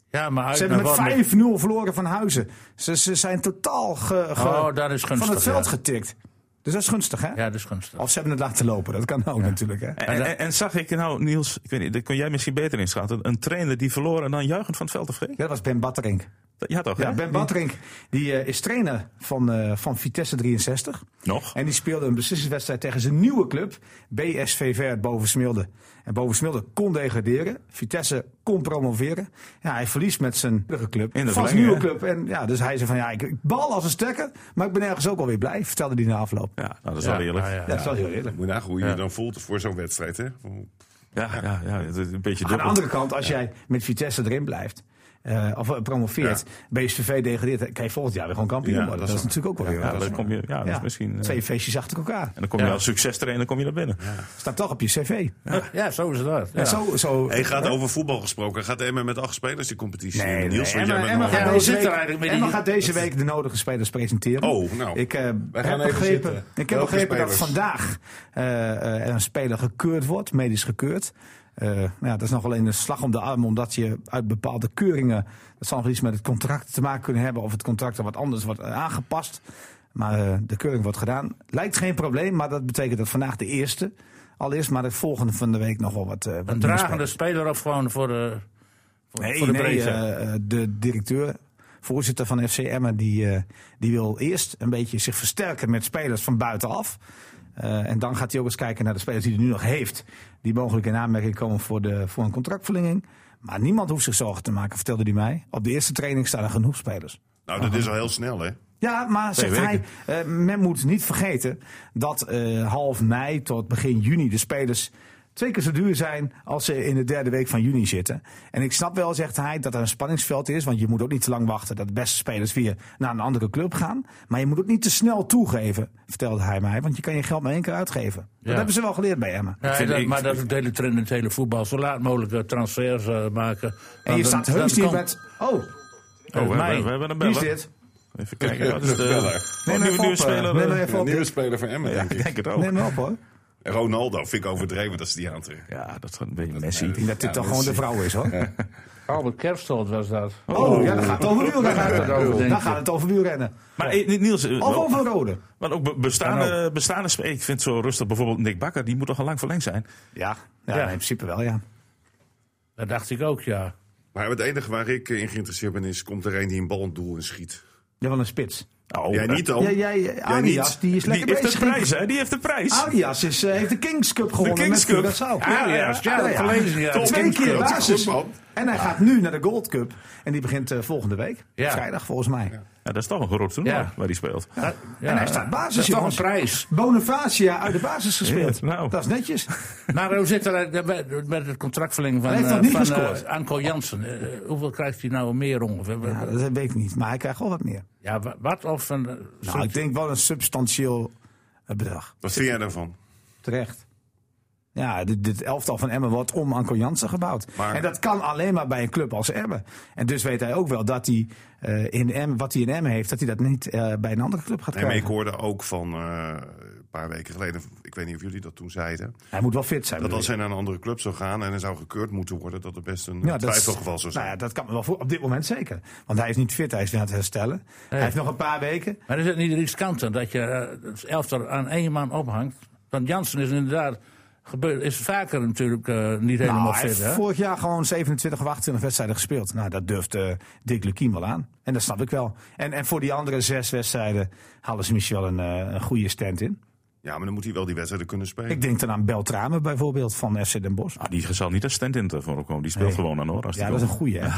Speaker 3: Ja, maar uit
Speaker 4: Ze
Speaker 3: naar
Speaker 4: hebben
Speaker 3: Warming-
Speaker 4: met 5-0 verloren van Huizen. Ze, ze zijn totaal ge- ge-
Speaker 3: Oh, dat is gunstig,
Speaker 4: eh, van het veld Oh,
Speaker 3: ja.
Speaker 4: getikt. Dus dat is gunstig, hè?
Speaker 3: Ja, dat is gunstig.
Speaker 4: Of ze hebben het laten lopen. Dat kan ook natuurlijk, hè?
Speaker 2: en, en, en zag ik nou, Niels, ik weet niet, daar kun jij misschien beter inschatten. Een trainer die verloren en dan juichend van het veld afging?
Speaker 4: Ja, dat was Ben Batterink.
Speaker 2: Ja, toch?
Speaker 4: Ja,
Speaker 2: hè?
Speaker 4: Ben Batterink die, eh, is trainer van, eh, van Vitesse 63.
Speaker 2: Nog?
Speaker 4: En die speelde een beslissingswedstrijd tegen zijn nieuwe club, BSV Ver Bovensmilde. En Bovensmilde kon degraderen, Vitesse kon promoveren. Ja, hij verliest met zijn vorige club,
Speaker 2: In de
Speaker 4: van zijn
Speaker 2: verlenging,
Speaker 4: nieuwe club. En ja, dus hij zei van ja, ik, ik bal als een stekker, maar ik ben ergens ook alweer blij, vertelde hij na afloop.
Speaker 2: Ja, nou, dat is
Speaker 3: Ja,
Speaker 2: wel eerlijk.
Speaker 3: ja,
Speaker 2: Ja,
Speaker 3: ja.
Speaker 4: Ja, dat is wel heel eerlijk.
Speaker 5: Moet je nagaan hoe je je dan voelt voor zo'n wedstrijd, hè?
Speaker 2: ja, ja, het is een beetje
Speaker 4: Aan de
Speaker 2: dubbel.
Speaker 4: andere kant, als jij met Vitesse erin blijft, eh, of eh, promoveert, BSVV degradeert, dan kan je volgend jaar weer gewoon kampioen
Speaker 5: Ja,
Speaker 4: worden.
Speaker 5: dat
Speaker 4: Dat,
Speaker 5: is
Speaker 4: is natuurlijk ook wel weer
Speaker 2: Ja,
Speaker 4: wat.
Speaker 2: dan kom je, ja, dat is
Speaker 4: Ja,
Speaker 2: misschien... eh,
Speaker 4: Twee feestjes achter elkaar.
Speaker 2: en dan kom je als succestrainer kom je naar binnen. Oh,
Speaker 4: Staat toch op je cv.
Speaker 3: Ja, zo is dat. Ja.
Speaker 4: En zo, zo,
Speaker 5: Hij gaat over voetbal gesproken. Gaat Emmen met acht spelers die competitie
Speaker 4: Nee,
Speaker 5: in?
Speaker 4: nee,
Speaker 5: Niels, want
Speaker 4: Emma,
Speaker 5: jij bent
Speaker 4: Emma
Speaker 5: nog-
Speaker 3: Ja,
Speaker 4: gaat,
Speaker 3: hoe
Speaker 4: deze
Speaker 3: zit
Speaker 4: week,
Speaker 3: er eigenlijk met
Speaker 4: Emma
Speaker 3: die-
Speaker 4: gaat deze week de nodige spelers presenteren.
Speaker 5: Oh, nou.
Speaker 4: Ik eh, heb
Speaker 5: even
Speaker 4: begrepen,
Speaker 5: zitten.
Speaker 4: ik heb
Speaker 5: Welke
Speaker 4: begrepen dat
Speaker 5: spelers?
Speaker 4: vandaag eh, eh, er een speler gekeurd wordt, medisch gekeurd. Eh, nou ja, dat is nog alleen een slag om de arm, omdat je uit bepaalde keuringen. Dat zal nog iets met het contract te maken kunnen hebben, of het contract er wat anders wordt eh, aangepast. Maar eh, de keuring wordt gedaan. Lijkt geen probleem, maar dat betekent dat vandaag de eerste al is, maar de volgende van de week nog wel wat. eh, wat meer
Speaker 3: Een dragende speler of gewoon voor de, voor,
Speaker 4: Nee,
Speaker 3: voor de
Speaker 4: nee,
Speaker 3: breedte.
Speaker 4: eh, eh, de directeur, voorzitter van FC Emmen, die, eh, die wil eerst een beetje zich versterken met spelers van buitenaf. Eh, en dan gaat hij ook eens kijken naar de spelers die hij nu nog heeft. Die mogelijk in aanmerking komen voor, de, voor een contractverlenging. Maar niemand hoeft zich zorgen te maken, vertelde hij mij. Op de eerste training staan er genoeg spelers.
Speaker 5: Nou, dat is al heel snel, hè?
Speaker 4: Ja, maar zegt hij, eh, men moet niet vergeten dat eh, half mei tot begin juni de spelers twee keer zo duur zijn als ze in de derde week van juni zitten. En ik snap wel, zegt hij, dat er een spanningsveld is, want je moet ook niet te lang wachten dat de beste spelers weer naar een andere club gaan. Maar je moet ook niet te snel toegeven, vertelde hij mij, want je kan je geld maar één keer uitgeven. Dat
Speaker 3: Ja.
Speaker 4: hebben ze wel geleerd bij Emmen.
Speaker 3: Ja,
Speaker 2: vind-
Speaker 3: dat-
Speaker 2: ik-
Speaker 3: maar dat is ook de hele trend in het hele voetbal. Zo laat mogelijk eh, transfers eh, maken.
Speaker 4: En je staat heus
Speaker 3: niet
Speaker 4: niet met... Oh,
Speaker 2: Oh, we,
Speaker 3: mij.
Speaker 2: hebben- we hebben een
Speaker 4: wie is
Speaker 2: beller.
Speaker 4: dit?
Speaker 2: Even kijken. Dat is de,
Speaker 5: Beller.
Speaker 2: Oh,
Speaker 4: Neem
Speaker 2: nieuwe,
Speaker 4: even
Speaker 2: nieuwe
Speaker 4: op, eh,
Speaker 2: speler.
Speaker 4: neem
Speaker 2: eh,
Speaker 4: even
Speaker 5: Een
Speaker 4: op,
Speaker 5: nieuwe
Speaker 4: Dick.
Speaker 5: speler van Emmen,
Speaker 2: ja,
Speaker 5: denk
Speaker 2: ik
Speaker 5: ik.
Speaker 2: denk het ook.
Speaker 4: Neem hem op, hoor.
Speaker 5: Ronaldo vind ik overdreven dat ze die aantrekken.
Speaker 2: Ja, dat is een beetje Messi.
Speaker 4: Ik denk dat dit
Speaker 5: Ja,
Speaker 4: toch gewoon de
Speaker 5: mensen-
Speaker 4: vrouw is, hoor.
Speaker 3: Albert Kerstold was dat.
Speaker 4: Oh, ja, dan gaat het over
Speaker 3: gaat het over,
Speaker 4: wielrennen.
Speaker 3: denk
Speaker 4: Dan
Speaker 3: ik.
Speaker 4: gaat het over wielrennen.
Speaker 2: Maar eh, Niels, eh,
Speaker 4: Of
Speaker 2: wel-
Speaker 4: over rode.
Speaker 2: want ook be- bestaande, bestaande spe- Ik vind het zo rustig. Bijvoorbeeld Nick Bakker, die moet toch al lang verlengd zijn.
Speaker 4: Ja, ja,
Speaker 3: Ja.
Speaker 4: in principe wel, ja.
Speaker 3: Dat dacht ik ook, ja.
Speaker 5: Maar het enige waar ik eh, in geïnteresseerd ben is, komt er een die een bal in het doel en schiet.
Speaker 4: Ja, wel een spits.
Speaker 2: Oh,
Speaker 5: Jij
Speaker 2: eh,
Speaker 5: niet dan?
Speaker 4: Ja, jij, Arias,
Speaker 5: niet.
Speaker 4: die is
Speaker 2: Die
Speaker 4: lekker
Speaker 2: heeft de
Speaker 4: bezig.
Speaker 2: prijs, hè? Die heeft de prijs.
Speaker 4: Arias is, eh, heeft de Kings Cup gewonnen
Speaker 2: Kings Cup.
Speaker 4: met Curaçao. Nou
Speaker 2: Ja,
Speaker 3: Ah, ja, ja, ja, dat verleden ze, ja.
Speaker 4: Twee
Speaker 3: De
Speaker 5: Kings
Speaker 4: keer
Speaker 5: Cup.
Speaker 4: basis.
Speaker 5: Goed, man.
Speaker 4: En hij gaat nu naar de Gold Cup. En die begint eh, volgende week.
Speaker 3: Ja.
Speaker 4: Vrijdag volgens mij.
Speaker 2: Ja, dat is toch een groot toernooi
Speaker 3: Ja.
Speaker 2: waar hij speelt.
Speaker 3: Ja,
Speaker 4: En hij staat basis,
Speaker 3: Dat is toch een
Speaker 4: jongens.
Speaker 3: prijs.
Speaker 4: Bonifacia uit de basis gespeeld.
Speaker 2: Ja, nou.
Speaker 4: Dat is netjes.
Speaker 3: Maar hoe zit er eh, met- met het contractverlenging van,
Speaker 4: Hij heeft nog
Speaker 3: eh,
Speaker 4: niet
Speaker 3: van
Speaker 4: gescoord.
Speaker 3: eh, Anko Jansen? Eh, hoeveel krijgt hij nou meer ongeveer?
Speaker 4: Ja,
Speaker 3: Ja,
Speaker 4: dat weet ik niet, maar hij krijgt wel wat meer.
Speaker 3: wa- wat of een... eh,
Speaker 4: Nou, ik denk wel een substantieel eh, bedrag.
Speaker 5: Wat vind jij daarvan?
Speaker 4: Terecht. Ja, dit, dit elftal van Emmen wordt om Anko Jansen gebouwd.
Speaker 5: Maar-
Speaker 4: en dat kan alleen maar bij een club als Emmen. En dus weet hij ook wel dat hij eh, in Emmen, wat hij in Emmen heeft, dat hij dat niet eh, bij een andere club gaat
Speaker 5: Nee, maar ik
Speaker 4: krijgen.
Speaker 5: hoorde ook van eh, een paar weken geleden, ik weet niet of jullie dat toen zeiden,
Speaker 4: Hij moet wel fit zijn.
Speaker 5: dat
Speaker 4: bedoel
Speaker 5: als
Speaker 4: ik.
Speaker 5: hij naar een andere club zou gaan en hij zou gekeurd moeten worden, dat het best een
Speaker 4: Ja, dat is-
Speaker 5: twijfelgeval zou zijn.
Speaker 4: Nou ja, dat kan me wel voor, op dit moment zeker. Want hij is niet fit, hij is weer aan het herstellen. Hij heeft nog een paar weken.
Speaker 3: Maar is het niet riskanter dat je eh, het elftal aan één man ophangt? Want Jansen is inderdaad gebeurd, is vaker natuurlijk eh, niet helemaal
Speaker 4: Nou, hij
Speaker 3: fit.
Speaker 4: heeft
Speaker 3: Hè?
Speaker 4: vorig jaar gewoon 27 of 28 wedstrijden gespeeld. Nou, dat durft eh, Dick Lukien wel aan. En dat snap ik wel. En, en voor die andere zes wedstrijden halen ze misschien wel een, eh, een goede stand in.
Speaker 5: Ja, maar dan moet hij wel die wedstrijden kunnen spelen.
Speaker 2: Hmm.
Speaker 4: Ik denk dan aan Beltrame bijvoorbeeld van FC Den Bosch.
Speaker 2: Ah, die zal niet als stand-in voor komen. Die speelt
Speaker 4: Nee.
Speaker 2: gewoon aan hoor. Als die
Speaker 4: Ja, dat is een
Speaker 2: komt.
Speaker 4: goeie. hè.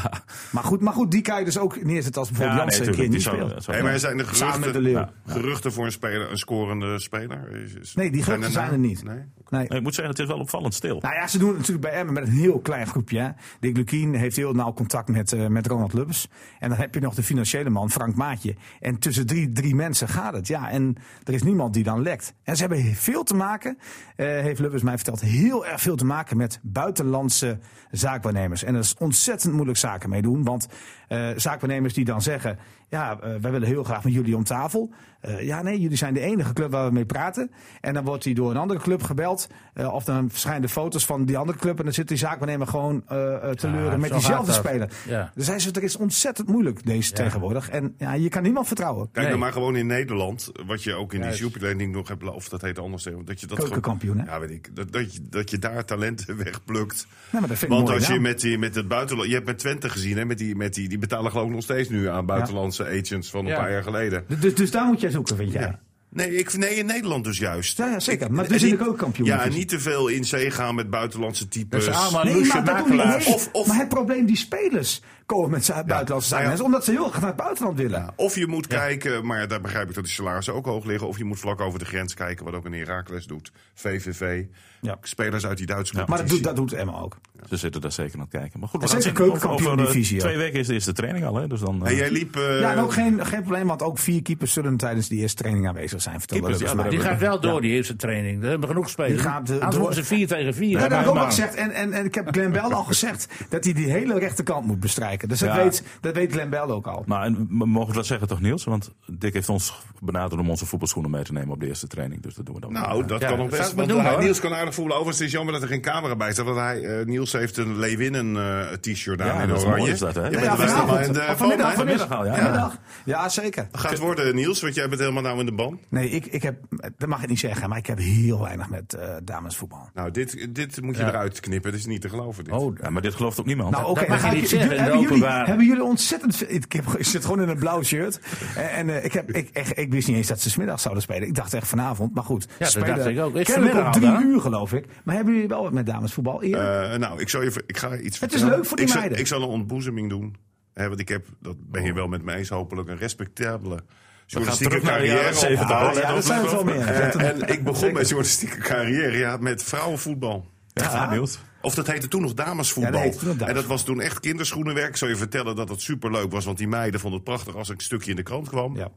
Speaker 4: Maar, goed, maar goed, die kan je dus ook neerzetten als bijvoorbeeld
Speaker 2: Ja, nee,
Speaker 4: Jansen
Speaker 2: tuurlijk,
Speaker 4: een
Speaker 2: die
Speaker 4: keer niet
Speaker 2: zou-
Speaker 4: speelt.
Speaker 2: zou-
Speaker 5: Hey, maar zijn de
Speaker 4: Samen
Speaker 5: geruchten,
Speaker 4: met de Leeuw.
Speaker 5: Ja. geruchten voor een, speler, een scorende speler? Is- is-
Speaker 4: Nee, die geruchten zijn er
Speaker 5: na-
Speaker 4: niet.
Speaker 5: Nee?
Speaker 4: Nee.
Speaker 2: Nee, ik moet zeggen, het is wel opvallend stil.
Speaker 4: Nou ja, ze doen het natuurlijk bij Emmen met een heel klein groepje. Hè. Dick Lukien heeft heel nauw contact met, eh, met Ronald Lubbers. En dan heb je nog de financiële man, Frank Maatje. En tussen drie, drie mensen gaat het. Ja, en er is niemand die dan lekt. En ze ze hebben veel te maken, eh, heeft Lubbers mij verteld, heel erg veel te maken met buitenlandse zaakwaarnemers. En dat is ontzettend moeilijk zaken mee doen, want eh, zaakwaarnemers die dan zeggen, ja, eh, wij willen heel graag met jullie om tafel. Eh, ja, nee, jullie zijn de enige club waar we mee praten. En dan wordt hij door een andere club gebeld, eh, of dan verschijnen de foto's van die andere club en dan zit die zaakwaarnemer gewoon eh, eh, te
Speaker 3: Ja,
Speaker 4: leuren met
Speaker 3: zo
Speaker 4: diezelfde
Speaker 3: gaat dat.
Speaker 4: speler.
Speaker 3: Ja.
Speaker 4: Dus hij zegt, er is ontzettend moeilijk deze tegenwoordig. En ja, je kan niemand vertrouwen.
Speaker 5: Kijk
Speaker 3: Nee.
Speaker 5: nou maar gewoon in Nederland, wat je ook in
Speaker 3: Juist.
Speaker 5: die superlening nog hebt, of dat heet anders. hè, Dat je dat
Speaker 4: Keukenkampioen, hè?
Speaker 5: gewoon- Ja, weet ik. Dat, dat, je, dat je daar talenten wegplukt.
Speaker 4: maar dat vind ik
Speaker 5: Want
Speaker 4: mooi
Speaker 5: als je
Speaker 4: gedaan.
Speaker 5: met, die, met het buitenland. Je hebt met Twente gezien, hè? Met die, met die, die betalen geloof ik nog steeds nu aan buitenlandse agents van een
Speaker 3: Ja.
Speaker 5: paar jaar geleden.
Speaker 4: Dus, dus daar moet jij zoeken, vind jij?
Speaker 5: Ja. Nee, ik, nee, in Nederland dus juist.
Speaker 4: Ja, ja, zeker.
Speaker 5: Ik-
Speaker 4: Maar
Speaker 5: en
Speaker 4: dus in de
Speaker 5: niet-
Speaker 4: keukenkampioen
Speaker 5: Ja, en
Speaker 4: divisie.
Speaker 5: niet te veel in zee gaan met buitenlandse
Speaker 3: Dat
Speaker 5: types.
Speaker 3: zijn allemaal
Speaker 4: Nee,
Speaker 3: loesje
Speaker 4: maar, daar kom je niet
Speaker 3: makelaars.
Speaker 4: heen.
Speaker 5: Of- of-
Speaker 4: maar het probleem, die spelers komen met zijn buitenlandse
Speaker 5: nou ja.
Speaker 4: zaakwaarnemers, omdat ze heel graag naar het buitenland willen.
Speaker 5: Of je moet kijken, maar daar begrijp ik dat de salarissen ook hoog liggen. Of je moet vlak over de grens kijken, wat ook een Herakles doet. VVV.
Speaker 4: Ja.
Speaker 5: Spelers uit die Duitse
Speaker 4: Maar dat doet,
Speaker 5: competitie.
Speaker 4: dat doet Emma ook.
Speaker 2: Ze zitten daar zeker aan het kijken. Maar goed, we
Speaker 4: En
Speaker 2: gaan
Speaker 4: zeker
Speaker 2: zien. Over-
Speaker 4: keukenkampioen
Speaker 2: over, eh,
Speaker 4: divisie, ja.
Speaker 2: Twee weken is de eerste training al, hè? Dus dan. eh,
Speaker 5: Hey, jij liep. eh,
Speaker 4: ja, en ook geen, geen probleem, want ook vier keepers zullen tijdens die eerste training aanwezig zijn. Vertelde
Speaker 2: Keepers,
Speaker 4: Lubbers
Speaker 2: ja,
Speaker 4: mij.
Speaker 3: Die gaat wel door, die eerste training. Daar hebben we genoeg spelers.
Speaker 4: Die gaat, eh,
Speaker 3: Anders
Speaker 4: door.
Speaker 3: worden ze 4 tegen 4.
Speaker 4: Ja, dat heb ik ook al gezegd. En, en, en ik heb Glenn Bell al gezegd dat hij die hele rechterkant moet bestrijken. Dus dat,
Speaker 2: Ja.
Speaker 4: weet, dat weet Glenn Bell ook al.
Speaker 2: Maar en, m- mogen we dat zeggen toch, Niels? Want Dick heeft ons benaderd om onze voetbalschoenen mee te nemen op de eerste training. Dus dat doen we dan.
Speaker 5: Nou, dat
Speaker 3: Ja,
Speaker 5: kan
Speaker 3: dat
Speaker 5: nog
Speaker 3: zou
Speaker 5: best.
Speaker 3: ik maar
Speaker 5: Want
Speaker 3: doen,
Speaker 5: hij-
Speaker 3: hoor.
Speaker 5: Niels kan aardig voelen. Overigens het is jammer dat er geen camera bij staat. Want hij, eh, Niels heeft een Leeuwinnen eh, t-shirt aan
Speaker 2: Ja,
Speaker 5: in
Speaker 2: dat is
Speaker 5: oranje.
Speaker 2: mooi, is dat, hè? Ja,
Speaker 5: bent
Speaker 4: ja,
Speaker 5: er best wel
Speaker 4: vanavond.
Speaker 5: bij in de
Speaker 4: Of vanmiddag,
Speaker 5: band, hè?
Speaker 2: vanmiddag al, ja.
Speaker 4: Vanmiddag? Ja, zeker.
Speaker 5: Gaat worden, Niels, want jij bent helemaal nou in de ban.
Speaker 4: Nee, ik, ik heb, dat mag ik niet zeggen, maar ik heb heel weinig met eh, damesvoetbal.
Speaker 5: Nou, dit, dit moet je
Speaker 3: Ja.
Speaker 5: eruit knippen. Dat is niet te geloven. Dit.
Speaker 3: Oh,
Speaker 2: Ja, maar dit gelooft ook niemand.
Speaker 4: Nou, oké.
Speaker 3: mag je
Speaker 4: maar
Speaker 3: niet
Speaker 4: ik-
Speaker 3: zeggen
Speaker 4: ik-
Speaker 3: in de
Speaker 4: hebben, jullie,
Speaker 3: openbare.
Speaker 4: hebben jullie ontzettend veel- Ik, heb, ik zit gewoon in een blauw shirt. En, en, eh, ik, heb, ik, echt, ik wist niet eens dat ze 's middags zouden spelen. Ik dacht echt vanavond, maar goed.
Speaker 3: dat
Speaker 4: spelen
Speaker 3: dacht ik ook. Is
Speaker 4: kennelijk om
Speaker 3: vanmiddag al,
Speaker 4: drie
Speaker 3: hè?
Speaker 4: uur, geloof ik. Maar hebben jullie wel wat met damesvoetbal eerder?
Speaker 5: Eh, nou, ik, zal je, ver- ik ga je iets
Speaker 4: Het is
Speaker 5: vertellen.
Speaker 4: leuk voor die
Speaker 5: ik zal-
Speaker 4: meiden.
Speaker 5: ik zal een ontboezeming doen. Hè, want ik heb, dat ben je wel met me eens, hopelijk een respectabele journalistieke
Speaker 2: terug naar de jaren
Speaker 5: carrière
Speaker 2: 70.
Speaker 5: opgebouwd.
Speaker 4: ja, dat zijn er wel meer.
Speaker 5: Eh, en ik begon mijn journalistieke carrière ja, met vrouwenvoetbal.
Speaker 2: ja, Niels.
Speaker 5: Of dat heette toen nog damesvoetbal.
Speaker 4: Ja, dat heette toen nog
Speaker 5: en dat
Speaker 4: damesvoetbal.
Speaker 5: was toen echt kinderschoenenwerk. Ik zal je vertellen dat het superleuk was, want die meiden vonden het prachtig als ik een stukje in de krant kwam.
Speaker 4: Ja.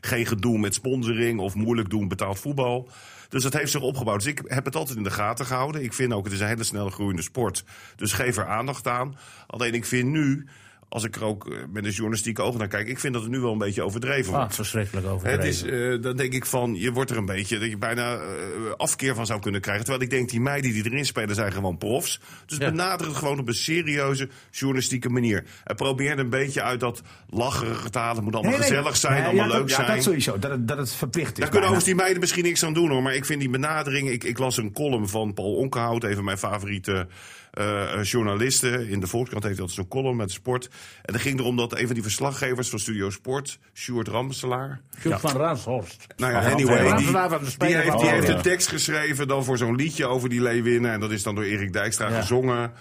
Speaker 5: Geen gedoe met sponsoring of moeilijk doen betaald voetbal. Dus dat heeft zich opgebouwd. Dus ik heb het altijd in de gaten gehouden. Ik vind ook, het is een hele snel groeiende sport. Dus geef er aandacht aan. Alleen ik vind nu, als ik er ook eh, met een journalistieke oog naar kijk... ik vind dat het nu wel een beetje overdreven
Speaker 3: Ah,
Speaker 5: wordt.
Speaker 3: verschrikkelijk overdreven.
Speaker 5: Het is, eh, dan denk ik van, je wordt er een beetje, dat je bijna eh, afkeer van zou kunnen krijgen. Terwijl ik denk, die meiden die erin spelen zijn gewoon profs. Dus
Speaker 3: Ja.
Speaker 5: benader het gewoon op een serieuze journalistieke manier. En probeer er een beetje uit dat lacherige te halen. Het moet allemaal
Speaker 4: Nee, nee.
Speaker 5: gezellig zijn,
Speaker 4: Nee,
Speaker 5: allemaal
Speaker 4: ja,
Speaker 5: leuk
Speaker 4: dat,
Speaker 5: zijn.
Speaker 4: Ja, dat sowieso. Dat het, dat het verplicht is.
Speaker 5: Daar kunnen
Speaker 4: bijna.
Speaker 5: overigens die meiden misschien niks aan doen hoor. Maar ik vind die benadering. Ik, ik las een column van Paul Onkenhout, een van mijn favoriete eh, eh, journalisten. In de Volkskrant heeft dat zo'n column met sport. En dat ging erom dat een van die verslaggevers van Studio Sport, Sjoerd Ramselaar.
Speaker 3: Sjoerd van Raashorst.
Speaker 5: Nou ja,
Speaker 2: Ja,
Speaker 5: anyway.
Speaker 2: ja.
Speaker 5: Die,
Speaker 3: Laten we de speler
Speaker 5: die heeft, die
Speaker 3: houden.
Speaker 5: heeft
Speaker 2: Ja.
Speaker 5: een tekst geschreven dan voor zo'n liedje over die Leeuwinnen. En dat is dan door Erik Dijkstra
Speaker 3: Ja.
Speaker 5: gezongen.